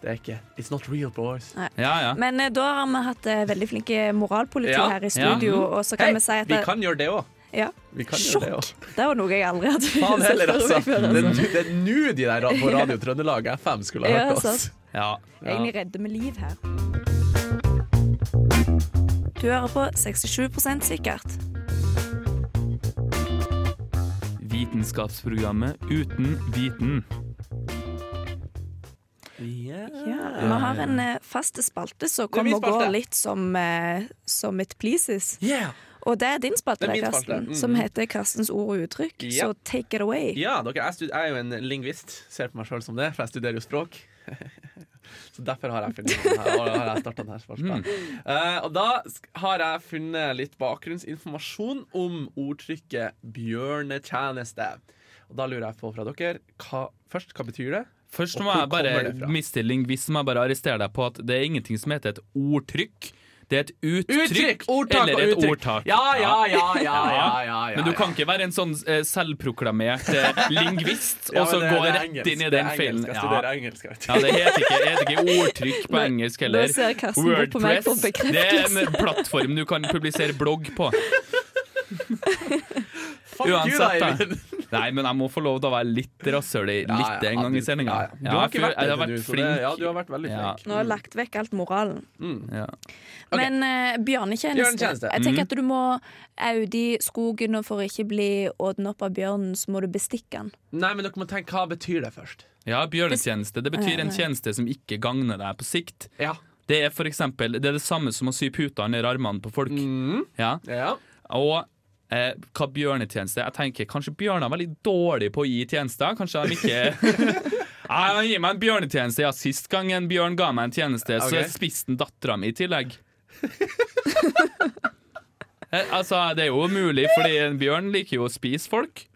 Speaker 1: det er ikke It's not real, boys.
Speaker 4: Ja, ja.
Speaker 2: Men eh, da har vi hatt eh, veldig flinke moralpoliti
Speaker 1: Ja,
Speaker 2: her i
Speaker 4: ja. Mm.
Speaker 2: studio, og så kan vi si at
Speaker 1: vi kan gjøre det òg.
Speaker 2: ja.
Speaker 1: Vi kan gjøre det
Speaker 2: Sjokk!
Speaker 1: òg.
Speaker 2: Det var noe jeg aldri hadde [LAUGHS]
Speaker 1: Faen heller,
Speaker 2: for meg
Speaker 1: altså.
Speaker 2: før,
Speaker 1: Det, det er nå de der på Radio Trøndelag FM skulle ha
Speaker 2: Ja,
Speaker 1: hørt oss.
Speaker 2: sant.
Speaker 4: ja.
Speaker 2: Jeg er egentlig redder med liv her. Du hører på 67 sikkert.
Speaker 4: Vitenskapsprogrammet Uten viten.
Speaker 2: Ja, vi har en eh, fast spalte som
Speaker 1: er min
Speaker 2: kommer og går
Speaker 1: spalte.
Speaker 2: litt som, eh, som it pleases.
Speaker 1: Yeah.
Speaker 2: Og det er din spalte,
Speaker 1: Det er min spalte.
Speaker 2: Karsten,
Speaker 1: Mhm.
Speaker 2: som heter Karstens ord og uttrykk.
Speaker 1: Ja.
Speaker 2: Så take it away.
Speaker 1: Ja, dere, jeg, stud- jeg er jo en lingvist. Ser på meg sjøl som det, for jeg studerer jo språk. [LAUGHS] Så derfor har jeg funnet den her, og har jeg startet den her
Speaker 4: Mm.
Speaker 1: spørsmålet. Eh, og da sk- har jeg funnet litt bakgrunnsinformasjon om ordtrykket 'bjørnetjeneste'. Og da lurer jeg på fra dere hva, Først, hva betyr det?
Speaker 4: Først
Speaker 1: Og
Speaker 4: må
Speaker 1: hvor
Speaker 4: jeg bare
Speaker 1: kommer det fra?
Speaker 4: Mr. Lingvist må jeg bare arrestere deg på at det er ingenting som heter et ordtrykk. Det er et uttrykk,
Speaker 1: ordtak
Speaker 4: eller et ordtak.
Speaker 1: Ja, ja, ja, ja, ja, ja, ja.
Speaker 4: Men du kan ikke være en sånn eh, selvproklamert eh, lingvist
Speaker 1: [LAUGHS] Ja,
Speaker 4: og så
Speaker 1: men det-
Speaker 4: gå
Speaker 1: det er
Speaker 4: rett
Speaker 1: engelsk,
Speaker 4: inn
Speaker 1: det
Speaker 4: i
Speaker 1: er
Speaker 4: den
Speaker 1: engelsk,
Speaker 4: feilen.
Speaker 1: Jeg
Speaker 4: Ja.
Speaker 1: studerer engelsk, vet du.
Speaker 4: Ja, det heter ikke, det heter ikke ordtrykk på
Speaker 2: Nå-
Speaker 4: engelsk
Speaker 2: Nå
Speaker 4: heller.
Speaker 2: ser Karsten bort på meg for
Speaker 4: Det er
Speaker 2: bekreftelse.
Speaker 4: en plattform du kan publisere blogg på.
Speaker 1: Fuck you,
Speaker 4: Uansett,
Speaker 1: da,
Speaker 4: da.
Speaker 1: Eivind.
Speaker 4: Nei, men jeg må få lov til å være litt rasshøl i-
Speaker 1: Ja,
Speaker 4: litt
Speaker 1: ja,
Speaker 4: en gang
Speaker 1: du-
Speaker 4: i sendinga.
Speaker 1: ja, ja. Du har ikke vært det
Speaker 4: jeg har
Speaker 1: til nå,
Speaker 4: vært
Speaker 1: så det- Ja, du
Speaker 4: flink.
Speaker 1: har vært veldig
Speaker 4: Ja.
Speaker 1: flink.
Speaker 2: Nå har jeg lagt vekk alt moralen.
Speaker 4: Ja.
Speaker 1: Ok.
Speaker 2: Men eh, bjørnetjeneste.
Speaker 1: Bjørnetjeneste, Mm.
Speaker 2: Jeg tenker at du må audi skogen, og for å ikke bli åten opp av bjørnen, så må du bestikke den.
Speaker 1: Nei, men dere må tenke hva betyr det først.
Speaker 4: Ja, bjørnetjeneste. Det betyr en tjeneste som ikke gagner deg på sikt.
Speaker 1: Ja.
Speaker 4: Det er for eksempel, det er det samme som å sy puter under armene på folk.
Speaker 1: Mm.
Speaker 4: Ja.
Speaker 1: ja.
Speaker 4: Og eh, hva bjørnetjeneste Jeg tenker kanskje bjørner er veldig dårlig på å gi tjenester. Kanskje de ikke
Speaker 1: [LAUGHS]
Speaker 4: Nei, han gir meg en bjørnetjeneste. Ja, sist gang en bjørn ga meg en tjeneste,
Speaker 1: Ok.
Speaker 4: så spiste han dattera mi i tillegg. [LAUGHS] eh, altså, det er jo mulig, fordi en bjørn liker jo å spise folk.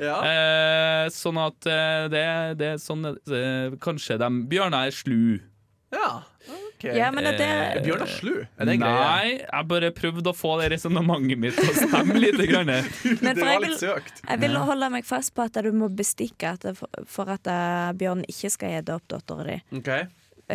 Speaker 1: ja.
Speaker 4: Eh, sånn at eh, det, det er sånn eh, Kanskje de Bjørnar er slu.
Speaker 1: ja. OK.
Speaker 2: Ja, men det,
Speaker 1: Er
Speaker 2: det,
Speaker 1: Bjørnar slu? Er det en greie?
Speaker 4: Nei, jeg bare prøvde å få det resonnementet mitt til å stemme litt.
Speaker 1: [LAUGHS]
Speaker 4: Grann.
Speaker 2: men
Speaker 1: Det
Speaker 2: for
Speaker 1: var
Speaker 2: jeg,
Speaker 1: litt
Speaker 2: vil,
Speaker 1: søkt.
Speaker 2: jeg vil holde meg fast på at du må bestikke at det, for- for at eh, bjørnen ikke skal ete opp dattera di.
Speaker 1: OK.
Speaker 2: Eh,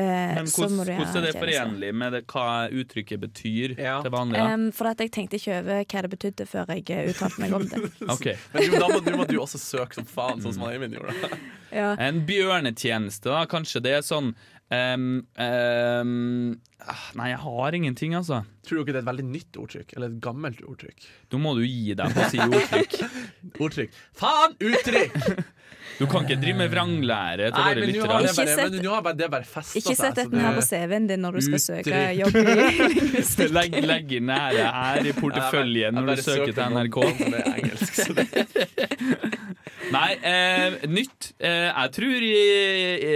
Speaker 4: Men
Speaker 2: så
Speaker 4: hvordan,
Speaker 2: må du gjøre
Speaker 4: hvordan er det
Speaker 2: en tjeneste.
Speaker 4: forenlig med det, hva uttrykket betyr
Speaker 1: Ja.
Speaker 4: til vanlig? da?
Speaker 2: Em, for at jeg tenkte ikke over hva det betydde før jeg eh, uttalte meg om det.
Speaker 1: [LAUGHS]
Speaker 4: Ok.
Speaker 1: Men du, da må du, må du også søke som faen, sånn som han Eivind [LAUGHS] gjorde.
Speaker 2: Ja.
Speaker 4: En bjørnetjeneste, da. Kanskje det er sånn ehm, ehm, ah, Nei, jeg har ingenting, altså.
Speaker 1: Tror dere det er et veldig nytt ordtrykk? Eller et gammelt ordtrykk?
Speaker 4: Da må du gi deg på å
Speaker 2: [LAUGHS]
Speaker 4: si ordtrykk.
Speaker 1: Ordtrykk. Faen! [LAUGHS] Uttrykk!
Speaker 4: Du kan ikke drive med vranglære til
Speaker 1: Nei,
Speaker 4: våre
Speaker 1: men nå har det
Speaker 4: lyttere.
Speaker 1: bare,
Speaker 2: Ikke sett-
Speaker 1: men nå har bare, det bare festet
Speaker 2: Ikke sett
Speaker 1: så
Speaker 2: dette her på
Speaker 1: det-
Speaker 2: CV-en din når du skal søke
Speaker 1: Uttrykk.
Speaker 2: jobb i [LAUGHS] lingvistikk.
Speaker 4: Legg, legg inn ære her i
Speaker 1: Jeg
Speaker 4: porteføljen
Speaker 1: bare- jeg
Speaker 4: når
Speaker 1: bare
Speaker 4: du søker til
Speaker 1: noen
Speaker 4: NRK.
Speaker 1: som er [LAUGHS] engelsk, så det-
Speaker 4: Nei, eh, nytt. Eh, jeg tror eh,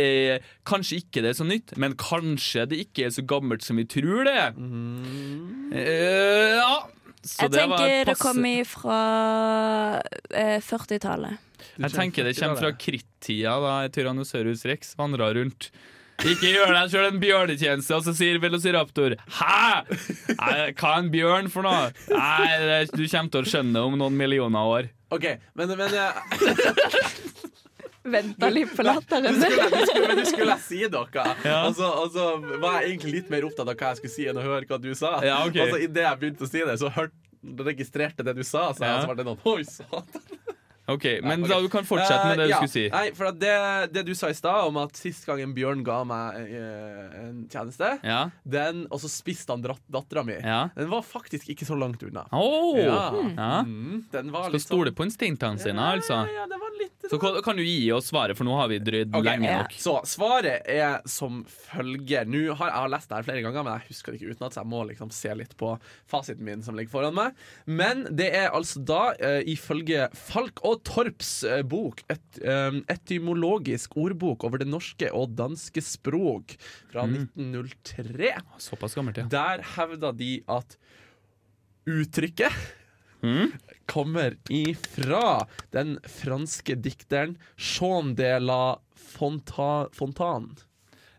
Speaker 4: eh, kanskje ikke det er så nytt, men kanskje det ikke er så gammelt som vi tror det er.
Speaker 1: Mm.
Speaker 4: Eh, ja. Så
Speaker 2: Jeg
Speaker 4: det var
Speaker 2: tenker det
Speaker 4: passe-
Speaker 2: kom ifra eh, 40-tallet.
Speaker 4: Jeg tenker det kommer fra krittida, da Tyrannosaurus rex vandra rundt. Ikke gjør deg sjøl en bjørnetjeneste, og så sier velociraptor Hæ?! Nei, Hva er en bjørn for noe? Nei, det- du kommer til å skjønne det om noen millioner år.
Speaker 1: OK, men, men, eh, jeg,
Speaker 2: Venta litt på latteren.
Speaker 4: [LAUGHS]
Speaker 1: men skulle, men skulle jeg si noe? Og så og så var jeg egentlig litt mer opptatt av hva jeg skulle si, enn å høre hva du sa.
Speaker 4: Ja, ok.
Speaker 1: Og så Idet jeg begynte å si det, så hørte registrerte det du sa, så jeg
Speaker 4: Ja.
Speaker 1: svarte noen Oi, satan.
Speaker 4: Ok, Men
Speaker 1: ok.
Speaker 4: da du kan fortsette med det
Speaker 1: Eh,
Speaker 4: du
Speaker 1: ja.
Speaker 4: skulle si.
Speaker 1: Nei, for at det, det du sa i stad om at sist gang en bjørn ga meg eh, en tjeneste,
Speaker 4: Ja.
Speaker 1: den, og så spiste han dattera mi,
Speaker 4: Ja.
Speaker 1: den var faktisk ikke så langt unna.
Speaker 4: Oh,
Speaker 1: Ja.
Speaker 4: ja.
Speaker 1: Mm, den var
Speaker 4: Skal
Speaker 1: litt sånn-
Speaker 4: stole på instinktene sine, altså.
Speaker 1: Ja, ja, det var litt
Speaker 4: Så kan- kan du gi oss svaret, for nå har vi drøyd
Speaker 1: Ok,
Speaker 4: lenge
Speaker 1: ja.
Speaker 4: nok.
Speaker 1: Så svaret er som følger. Nå har, jeg har lest det her flere ganger, men jeg husker det ikke utenat, så jeg må liksom se litt på fasiten min som ligger foran meg. Men det er altså da, eh, ifølge Falk og Torps eh, bok, et eh, etymologisk ordbok over det norske og danske språk fra
Speaker 4: Mm.
Speaker 1: 1903,
Speaker 4: Såpass gammelt, ja.
Speaker 1: der hevda de at uttrykket kommer ifra den franske dikteren Jean de la Fonta Fontaine.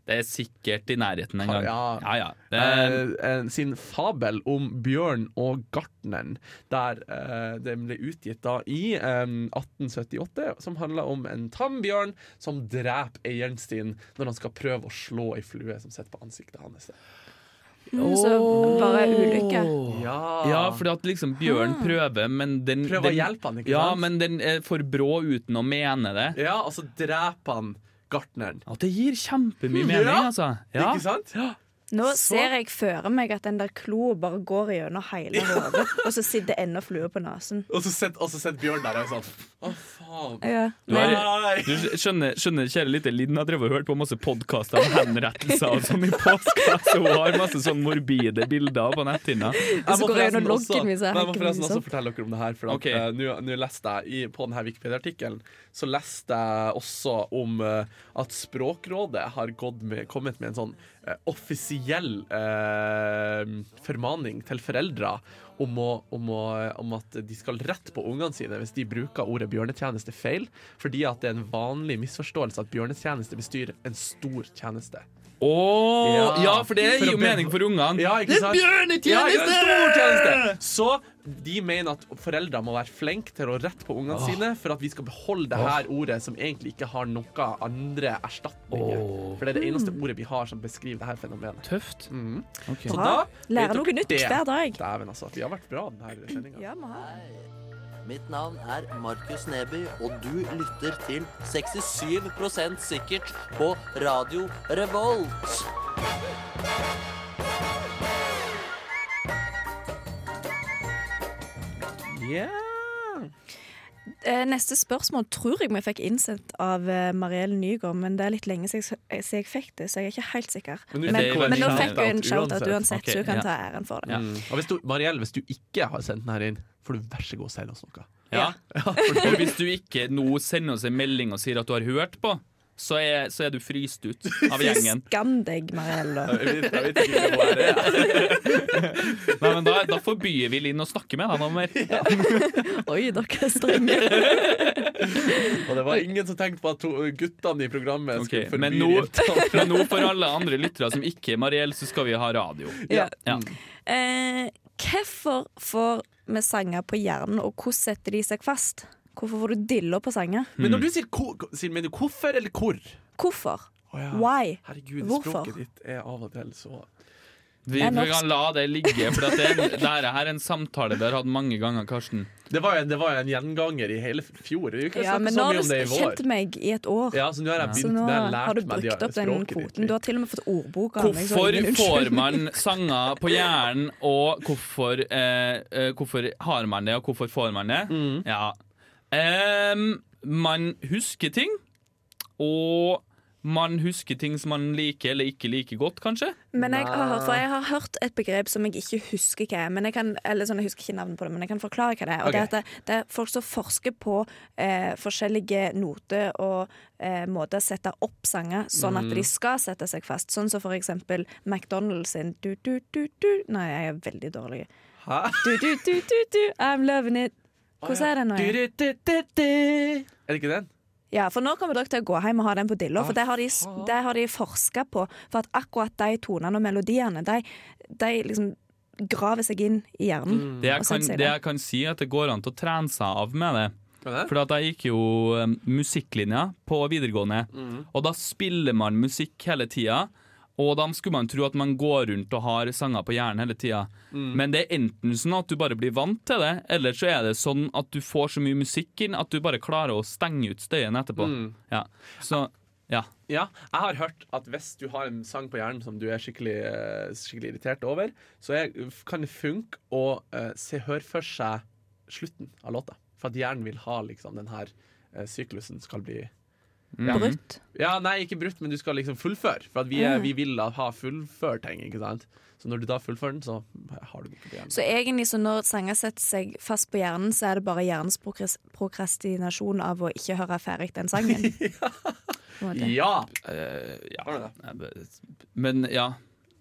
Speaker 4: Det er sikkert i nærheten en gang.
Speaker 1: Ja.
Speaker 4: Ja, ja. Det,
Speaker 1: Eh, eh, sin fabel om bjørn og gartneren, der eh, den ble utgitt da i eh, 1878, som handla om en tam bjørn som dreper eieren sin når han skal prøve å slå ei flue som sitter på ansiktet hans.
Speaker 2: Mm, så bare ulykke. Ah.
Speaker 1: Ja,
Speaker 4: Ja, fordi at liksom bjørn prøver, men den
Speaker 1: Prøver å
Speaker 4: den-
Speaker 1: hjelpe han, ikke
Speaker 4: Ja,
Speaker 1: sant?
Speaker 4: men den er for brå uten å mene det.
Speaker 1: ja, og så dreper han gartneren.
Speaker 4: Ja, det gir kjempemye mening,
Speaker 1: Ja.
Speaker 4: altså. Ja.
Speaker 1: Ikke sant?
Speaker 2: Nå ser jeg føre meg at den der kloa bare går gjennom hele hodet, og så sitter det ennå flue på nesen.
Speaker 1: Og så sitter og så sitter Bjørn der og er sånn Å, faen.
Speaker 2: Ja.
Speaker 4: Du, har,
Speaker 1: Nei.
Speaker 4: du skjønner, skjønner kjære lille Linn, jeg drev og hørte på masse podkaster om henrettelser og sånn i påska, så hun har masse sånn morbide bilder på netthinna.
Speaker 1: Jeg må
Speaker 2: går jeg
Speaker 1: forresten
Speaker 2: under
Speaker 1: også,
Speaker 2: loggen hvis
Speaker 1: Nei, jeg
Speaker 2: jeg
Speaker 1: må
Speaker 2: hacker liksom.
Speaker 1: forresten
Speaker 2: meg
Speaker 1: også
Speaker 2: opp.
Speaker 1: fortelle dere om det her. For at,
Speaker 4: Ok.
Speaker 1: eh, nå- Nå leste jeg i, På denne Wikipedia-artikkelen Så leste jeg også om eh, at Språkrådet har gått med, kommet med en sånn eh, offisiell eh, formaning til foreldre om, å, om, å, om at de skal rette på ungene sine hvis de bruker ordet bjørnetjeneste feil, fordi at det er en vanlig misforståelse at bjørnetjeneste bestyr en stor tjeneste.
Speaker 4: Å!
Speaker 1: Ja.
Speaker 4: ja, for
Speaker 1: For å
Speaker 4: det gir jo
Speaker 1: be-
Speaker 4: mening for ungene.
Speaker 1: Ja, ikke sant?
Speaker 4: Det er bjørnetjeneste!
Speaker 1: Ja, ja, en stor tjeneste! Så de mener at foreldre må være flinke til å rette på ungene sine for at vi skal beholde det her ordet som egentlig ikke har noe andre erstatninger.
Speaker 4: Åh.
Speaker 1: For det er det eneste ordet vi har som beskriver det her fenomenet.
Speaker 4: Tøft.
Speaker 1: Mhm.
Speaker 4: Ok.
Speaker 1: Så
Speaker 2: Bra.
Speaker 1: da
Speaker 2: Lærer
Speaker 1: vet
Speaker 2: noe
Speaker 1: dere
Speaker 2: nytt
Speaker 1: det.
Speaker 2: hver dag.
Speaker 1: Dæven, altså. Vi har vært bra denne sendinga.
Speaker 2: Ja, vi har.
Speaker 6: Mitt navn er Markus Neby, og du lytter til 67 sikkert på Radio Revolt.
Speaker 2: Eh, Neste spørsmål tror jeg vi fikk innsendt av eh, Marielle Nygaard, men det er litt lenge siden jeg, siden jeg fikk det, så jeg er ikke helt sikker.
Speaker 1: Men du
Speaker 2: Men, men,
Speaker 4: fikk jo en
Speaker 2: nå
Speaker 4: shout-out
Speaker 2: fikk hun en shout-out
Speaker 1: uansett.
Speaker 2: uansett,
Speaker 4: Ok,
Speaker 2: så hun kan
Speaker 4: ja.
Speaker 2: ta æren for det.
Speaker 4: Ja.
Speaker 1: Mm. Og hvis du, Marielle, hvis du ikke har sendt den her inn, får du vær så god sende oss noe.
Speaker 4: Ja. [LAUGHS] Og hvis du ikke nå sender oss en melding og sier at du har hørt på, så er, så er du fryst ut av gjengen.
Speaker 2: Skam deg, Marielle. da.
Speaker 1: [LAUGHS] Jeg vet, jeg vet ikke hva [LAUGHS] det er.
Speaker 4: Nei, men da, da forbyr vi Linn å snakke med deg noe mer.
Speaker 2: [LAUGHS] Oi, dere er strenge.
Speaker 1: [LAUGHS] Og det var ingen som tenkte på at to, guttene i programmet skulle
Speaker 4: Ok,
Speaker 1: forby
Speaker 4: men, nå,
Speaker 1: jentene. [LAUGHS]
Speaker 4: men nå for alle andre lyttere som ikke er Mariell, så skal vi ha radio.
Speaker 2: Ja.
Speaker 4: Ja.
Speaker 2: Eh, hvorfor får vi sanger på hjernen, og hvordan setter de seg fast? Hvorfor får du diller på sanger?
Speaker 1: Men når du sier, ko, sier mener du hvorfor eller hvor?
Speaker 2: Hvorfor?
Speaker 1: Mm. Å ja.
Speaker 2: Why?
Speaker 1: Herregud,
Speaker 2: Hvorfor?
Speaker 1: språket ditt er av og til så
Speaker 4: Vi,
Speaker 2: Det er
Speaker 4: vi
Speaker 2: norsk.
Speaker 4: kan la det ligge, for at det, er en- dette her er en samtale vi har hatt mange ganger, Karsten.
Speaker 1: Det var jo en, det var jo en gjenganger i hele fjor. Vi har ikke
Speaker 2: Ja,
Speaker 1: snakket
Speaker 2: men
Speaker 1: så
Speaker 2: nå har
Speaker 1: mye om
Speaker 2: du
Speaker 1: det i vår.
Speaker 2: kjent meg i et år.
Speaker 1: Ja, så nå har jeg
Speaker 2: Så
Speaker 1: begynt
Speaker 2: nå
Speaker 1: det har jeg lært
Speaker 2: har du
Speaker 1: meg de-
Speaker 2: brukt opp den
Speaker 1: språket ditt.
Speaker 2: kvoten. Du har til og med fått ordboka. av meg, så
Speaker 4: Hvorfor
Speaker 2: ingen
Speaker 4: får
Speaker 2: unnskyldning.
Speaker 4: man sanger på hjernen, og hvorfor, eh, eh, hvorfor har man det, og hvorfor får man det? Ja. Em, man husker ting, og man husker ting som man liker eller ikke liker godt, kanskje.
Speaker 2: Men jeg har, hørt, for jeg har hørt et begrep som jeg ikke husker hva er. Men jeg kan, eller sånn, jeg husker ikke navnet på det, men jeg kan forklare hva det er. Og det, er at det, det er folk som forsker på eh, forskjellige noter og eh, måter å sette opp sanger sånn at de skal sette seg fast. Sånn som for eksempel McDonald's sin du, du, du, du. Nei, jeg er veldig dårlig.
Speaker 1: Hæ?
Speaker 2: Du, du, du, du, du. I'm loving it. Hvordan er det nå? igjen?
Speaker 1: Du-du-du-du-du. Er det ikke den?
Speaker 2: Ja, for nå kommer dere til å gå hjem og ha den på dilla, for det har de, det har de forska på. For at akkurat de tonene og melodiene, de, de liksom graver seg inn i hjernen.
Speaker 4: Det jeg,
Speaker 2: Og sånn
Speaker 4: kan,
Speaker 2: sier
Speaker 4: det
Speaker 2: det.
Speaker 4: jeg kan si, er at det går an til å trene seg av med det.
Speaker 1: Kan jeg?
Speaker 4: For at jeg gikk jo eh, musikklinja på videregående, og da spiller man musikk hele tida. Og da skulle man tro at man går rundt og har sanger på hjernen hele tida. Men det er enten sånn at du bare blir vant til det, eller så er det sånn at du får så mye musikk inn at du bare klarer å stenge ut støyen etterpå. Ja. Så ja.
Speaker 1: Ja, jeg har hørt at hvis du har en sang på hjernen som du er skikkelig, eh, skikkelig irritert over, så er, kan det funke å eh, se høre for seg slutten av låta. For at hjernen vil ha liksom den her eh, syklusen skal bli
Speaker 2: Brutt.
Speaker 1: Mm. Ja, nei, ikke brutt, men du skal liksom fullføre. For at vi, er, vi vil da ha fullført ting, ikke sant. Så når du da fullfører den, så har du den ikke på hjernen.
Speaker 2: Så egentlig så når sanger setter seg fast på hjernen, så er det bare hjernens prokres- prokrastinasjon av å ikke høre ferdig den sangen.
Speaker 1: [LAUGHS]
Speaker 2: På en måte.
Speaker 1: Ja!
Speaker 4: Eh, ja.
Speaker 1: Har du det?
Speaker 4: Men ja.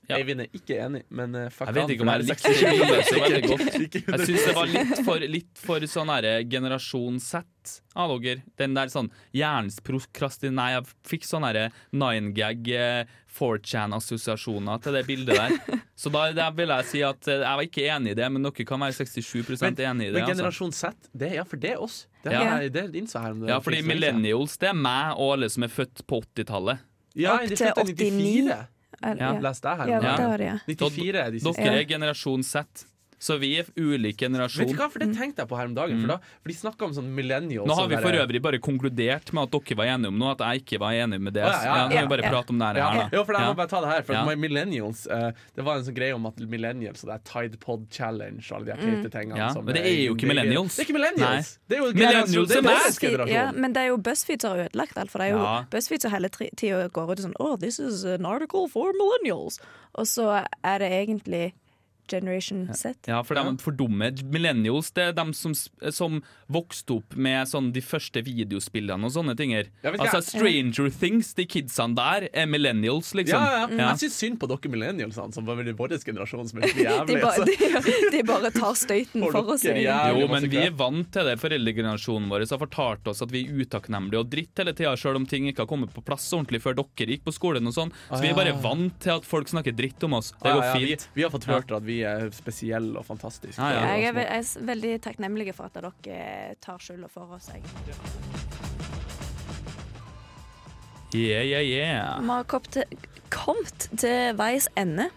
Speaker 4: Ja.
Speaker 1: Eivind er ikke enig, men eh, fuck
Speaker 4: Jeg vet
Speaker 1: han,
Speaker 4: ikke om
Speaker 1: for
Speaker 4: jeg
Speaker 1: det er [LAUGHS]
Speaker 4: likte det
Speaker 1: seksuelt.
Speaker 4: så veldig godt.
Speaker 1: Ikke
Speaker 4: Jeg syns det var litt for, litt for sånn herre generasjon Z av dere. Den der sånn hjernens prokrastin... Nei, jeg fikk sånn herre nine gag, 4chan-assosiasjoner til det bildet der. Så da, da vil jeg si at eh, jeg var ikke enig i det, men dere kan være 67 enig i det.
Speaker 1: Men
Speaker 4: Altså.
Speaker 1: generasjon Z, det er ja, for det er oss. Det,
Speaker 4: Ja.
Speaker 1: er, det innså jeg her om det.
Speaker 4: Ja, fordi millennials, det er meg og alle som er født på 80-tallet.
Speaker 1: Ja,
Speaker 2: Opp
Speaker 1: de
Speaker 2: til
Speaker 1: flyttet 94.
Speaker 2: Er-
Speaker 4: Ja.
Speaker 2: Ja,
Speaker 1: Les deg her.
Speaker 2: ja
Speaker 1: om
Speaker 2: det
Speaker 4: Ja.
Speaker 1: dagen.
Speaker 2: var det, ja.
Speaker 1: 94 er de siste.
Speaker 4: Dere er generasjon Z, så vi er
Speaker 1: Vet
Speaker 4: ulik
Speaker 1: du
Speaker 4: generasjon.
Speaker 1: hva, for det
Speaker 2: Mm.
Speaker 1: tenkte jeg på her om dagen. For, da, for de snakka om sånn millennials.
Speaker 4: Mm. Nå har
Speaker 1: og
Speaker 4: vi
Speaker 1: der-
Speaker 4: for øvrig bare konkludert med at dere var enige om noe, at jeg ikke var enig med det.
Speaker 1: Å, ja, ja,
Speaker 4: Ja, nå må
Speaker 2: ja,
Speaker 4: vi bare
Speaker 2: ja.
Speaker 4: prate om det her,
Speaker 1: ja.
Speaker 4: her, da.
Speaker 1: Jo, for jeg
Speaker 4: Ja.
Speaker 1: må bare ta det her. For
Speaker 4: Ja.
Speaker 1: at my millennials eh, Det var en sånn greie om at millennials og det er Tide Pod Challenge og alle de her
Speaker 2: Mm.
Speaker 1: teite tingene.
Speaker 4: Ja,
Speaker 1: som,
Speaker 4: men det
Speaker 1: eh,
Speaker 4: er jo ikke
Speaker 1: det-
Speaker 4: millennials.
Speaker 1: Det er ikke millennials! Det er jo
Speaker 4: Millennials
Speaker 1: det
Speaker 4: er meg.
Speaker 1: deres
Speaker 2: Buzzfeed-
Speaker 1: generasjon.
Speaker 2: ja, men det er jo BuzzFeed som har ødelagt alt. For det er jo
Speaker 4: Ja.
Speaker 2: BuzzFeed som hele tri- tida går ut og sånn Oh, this is an article for millennials. Og så er det egentlig Generation Z.
Speaker 4: Ja, for de er for dumme. Millennials det er de som, som vokste opp med sånn, de første videospillene og sånne ting. her.
Speaker 1: Ja, vet du hva?
Speaker 4: Altså Stranger Things, de kidsene der, er millennials, liksom.
Speaker 1: Ja, ja. Jeg syns synd på dere millennialsene, som var vel i vår generasjon som er så
Speaker 2: Mm. [LAUGHS] De,
Speaker 1: jævlig. altså.
Speaker 2: bare,
Speaker 1: så-
Speaker 2: de, de bare tar støyten
Speaker 1: Får
Speaker 2: for oss.
Speaker 1: dere
Speaker 2: egentlig.
Speaker 1: jævlig
Speaker 4: Jo, men
Speaker 1: masse
Speaker 4: vi er
Speaker 1: crap.
Speaker 4: vant til det. Foreldregenerasjonen vår har fortalt oss at vi er utakknemlige og dritt hele tida, sjøl om ting ikke har kommet på plass ordentlig før dere gikk på skolen og sånn. Så vi er bare vant til at folk snakker dritt om oss. Det
Speaker 1: Ah. Ja,
Speaker 4: går
Speaker 1: ja, vi,
Speaker 4: fint.
Speaker 1: vi har fått hørt at vi er spesielle og fantastiske.
Speaker 4: Ja, ja.
Speaker 2: Jeg er, ve jeg er s- veldig takknemlig for at dere eh, tar skylda for oss. Jeg.
Speaker 4: Yeah, yeah, yeah.
Speaker 2: Vi har kommet til, kommet til veis ende.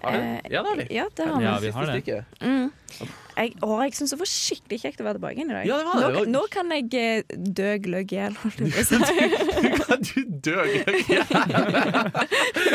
Speaker 1: Har vi?
Speaker 2: Eh,
Speaker 1: Ja, det har vi.
Speaker 2: Ja, det har vi.
Speaker 4: Ja, vi har det.
Speaker 1: Stikket.
Speaker 2: Jeg, å, jeg syns det var skikkelig kjekt å være tilbake igjen i dag.
Speaker 1: Ja, det var det.
Speaker 2: Nå,
Speaker 1: Det var-
Speaker 2: nå kan jeg eh, dø gløgg i hjel. holdt jeg på å
Speaker 1: [LAUGHS]
Speaker 2: si.
Speaker 1: Kan [LAUGHS] du dø, Gløgg?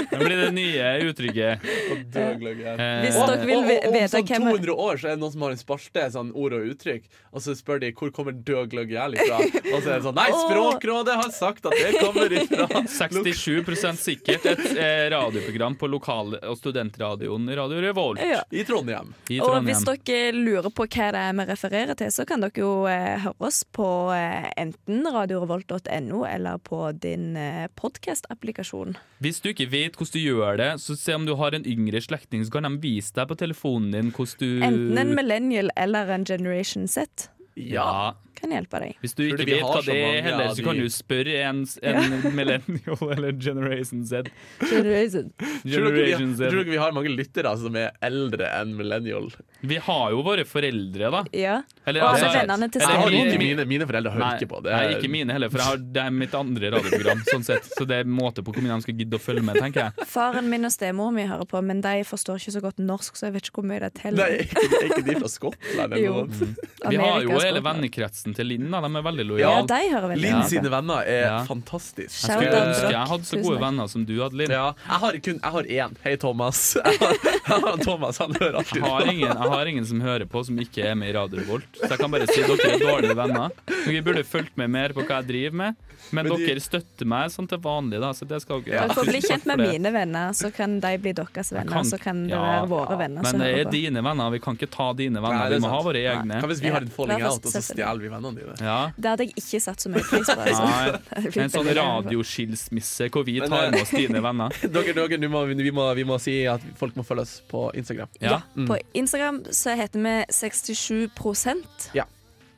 Speaker 4: Det blir det nye uttrykket.
Speaker 1: Dø, Gløgg. ja.
Speaker 4: Eh,
Speaker 2: Hvis dere vil
Speaker 1: Og-
Speaker 2: ve-
Speaker 1: og- og
Speaker 2: vite
Speaker 1: Om
Speaker 2: hvem
Speaker 1: sånn 200 år så er det noen som har en spalte, sånn ord og uttrykk, og så spør de hvor kommer død gløgg jævlig fra. Og så er det sånn
Speaker 2: [LAUGHS]
Speaker 1: Nei, Språkrådet har sagt at det kommer
Speaker 4: [LAUGHS]
Speaker 1: ifra
Speaker 4: 67 sikkert et eh, radioprogram på lokal- og studentradioen Radio Revolt
Speaker 2: Ja.
Speaker 1: i Trondheim.
Speaker 4: i
Speaker 2: Og hvis
Speaker 4: Trondheim.
Speaker 2: dere lurer på hva det er vi refererer til, så kan dere jo eh, høre oss på eh, enten radiorevolt.no eller på din eh, podcast-applikasjon.
Speaker 4: Hvis du ikke vet hvordan du gjør det, så se om du har en yngre slektning, så kan de vise deg på telefonen din hvordan
Speaker 2: Enten
Speaker 4: du
Speaker 2: en millennial eller en generation Z
Speaker 4: ja.
Speaker 2: kan hjelpe deg.
Speaker 4: Hvis du
Speaker 1: Fordi
Speaker 4: ikke
Speaker 1: vi
Speaker 4: vet
Speaker 1: har
Speaker 4: hva
Speaker 1: så
Speaker 4: det er
Speaker 1: mange
Speaker 4: heller,
Speaker 1: av
Speaker 4: så
Speaker 1: de-
Speaker 4: kan du spørre en, en [LAUGHS] millennial eller generation Z.
Speaker 2: Generation.
Speaker 1: Tror dere,
Speaker 4: Generation
Speaker 1: vi, tror
Speaker 4: Z.
Speaker 1: dere vi har mange lyttere som er eldre enn millennial?
Speaker 4: Vi har jo våre foreldre, da.
Speaker 2: Ja.
Speaker 4: Eller,
Speaker 2: Og
Speaker 4: altså,
Speaker 2: alle vennene til
Speaker 4: eller
Speaker 1: Jeg har
Speaker 4: mine-
Speaker 1: ikke mine, mine foreldre hører
Speaker 4: Nei,
Speaker 1: ikke på. Det
Speaker 4: nei, ikke mine heller, for jeg har, det er mitt andre radioprogram. sånn sett. Så det er måte på hvor mye de skal gidde å følge med, tenker jeg.
Speaker 2: Faren min og stemoren min hører på, men de forstår ikke så godt norsk, så jeg vet ikke hvor mye det
Speaker 1: Nei,
Speaker 2: teller.
Speaker 1: ikke, er ikke de fra Skottland eller
Speaker 2: Jo.
Speaker 1: noe? sånt?
Speaker 4: Vi har jo
Speaker 2: Amerikas
Speaker 4: hele
Speaker 2: språk.
Speaker 4: vennekretsen til Linn. da, De er veldig
Speaker 2: [LAUGHS] Ja,
Speaker 4: lojale.
Speaker 2: de hører veldig
Speaker 1: Linn
Speaker 2: godt.
Speaker 1: sine venner er
Speaker 4: Ja.
Speaker 1: fantastiske.
Speaker 2: Shout
Speaker 4: Jeg
Speaker 2: out,
Speaker 4: ønsker jeg
Speaker 2: Brock.
Speaker 4: hadde så
Speaker 2: Tusen
Speaker 4: gode
Speaker 2: takk.
Speaker 4: venner som du hadde, Linn.
Speaker 1: Ja, jeg har kun Jeg har én. Hei, Thomas. [LAUGHS] Jeg har, jeg har Thomas, han hører alltid
Speaker 4: Jeg har, ingen, jeg har ingen som hører på som ikke er med i Radio Revolt. Så jeg kan bare si dere er dårlige venner. Dere burde fulgt med mer på hva jeg driver med, men,
Speaker 1: Men de-
Speaker 4: dere støtter meg sånn til vanlig, da, så det skal dere
Speaker 2: Dere får bli
Speaker 4: Tusen takk [LAUGHS]
Speaker 2: kjent med
Speaker 4: for det.
Speaker 2: mine venner, så kan de bli deres venner.
Speaker 4: kan-
Speaker 2: Så kan det
Speaker 4: ja,
Speaker 2: være
Speaker 4: ja.
Speaker 2: våre venner som
Speaker 4: Men det
Speaker 2: hører
Speaker 4: er
Speaker 2: på.
Speaker 4: dine venner, vi kan ikke ta dine
Speaker 1: Nei,
Speaker 4: venner.
Speaker 1: det er
Speaker 4: Vi må ha
Speaker 1: sant.
Speaker 4: våre egne.
Speaker 1: Hva hvis vi har en falling
Speaker 2: Ja,
Speaker 1: out, og så
Speaker 2: selvfølgelig.
Speaker 1: stjeler vi vennene dine?
Speaker 4: Ja.
Speaker 2: Det hadde jeg ikke satt så mye pris på. Altså.
Speaker 4: Nei.
Speaker 2: [LAUGHS] Det blir
Speaker 4: En sånn
Speaker 2: veldig lei meg for.
Speaker 4: radioskilsmisse hvor vi
Speaker 1: Men,
Speaker 4: tar
Speaker 1: eh,
Speaker 4: med oss dine venner.
Speaker 1: [LAUGHS] Dere, dere, nå må, vi, vi, må, vi må si at folk må følge oss på Instagram.
Speaker 4: Ja.
Speaker 2: På Instagram så heter vi 67
Speaker 1: Ja.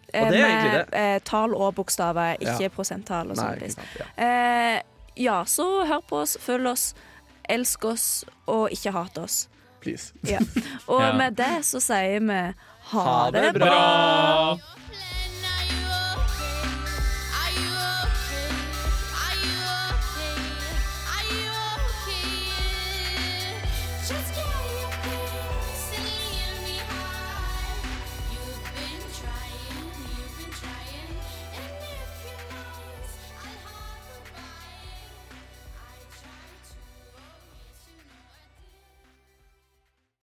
Speaker 1: Og det er egentlig
Speaker 2: med eh, tall og bokstaver, ikke
Speaker 1: Ja.
Speaker 2: prosenttall
Speaker 1: Nei,
Speaker 2: og sånn.
Speaker 1: ikke
Speaker 2: piss.
Speaker 1: sant, ja.
Speaker 2: Eh, ja, så hør på oss, følg oss, elsk oss og ikke hat oss.
Speaker 1: [LAUGHS] Please.
Speaker 2: Ja. Og
Speaker 4: Ja.
Speaker 2: med det så sier vi ha,
Speaker 1: Ha det
Speaker 2: det
Speaker 1: bra.
Speaker 2: bra.
Speaker 4: Bra!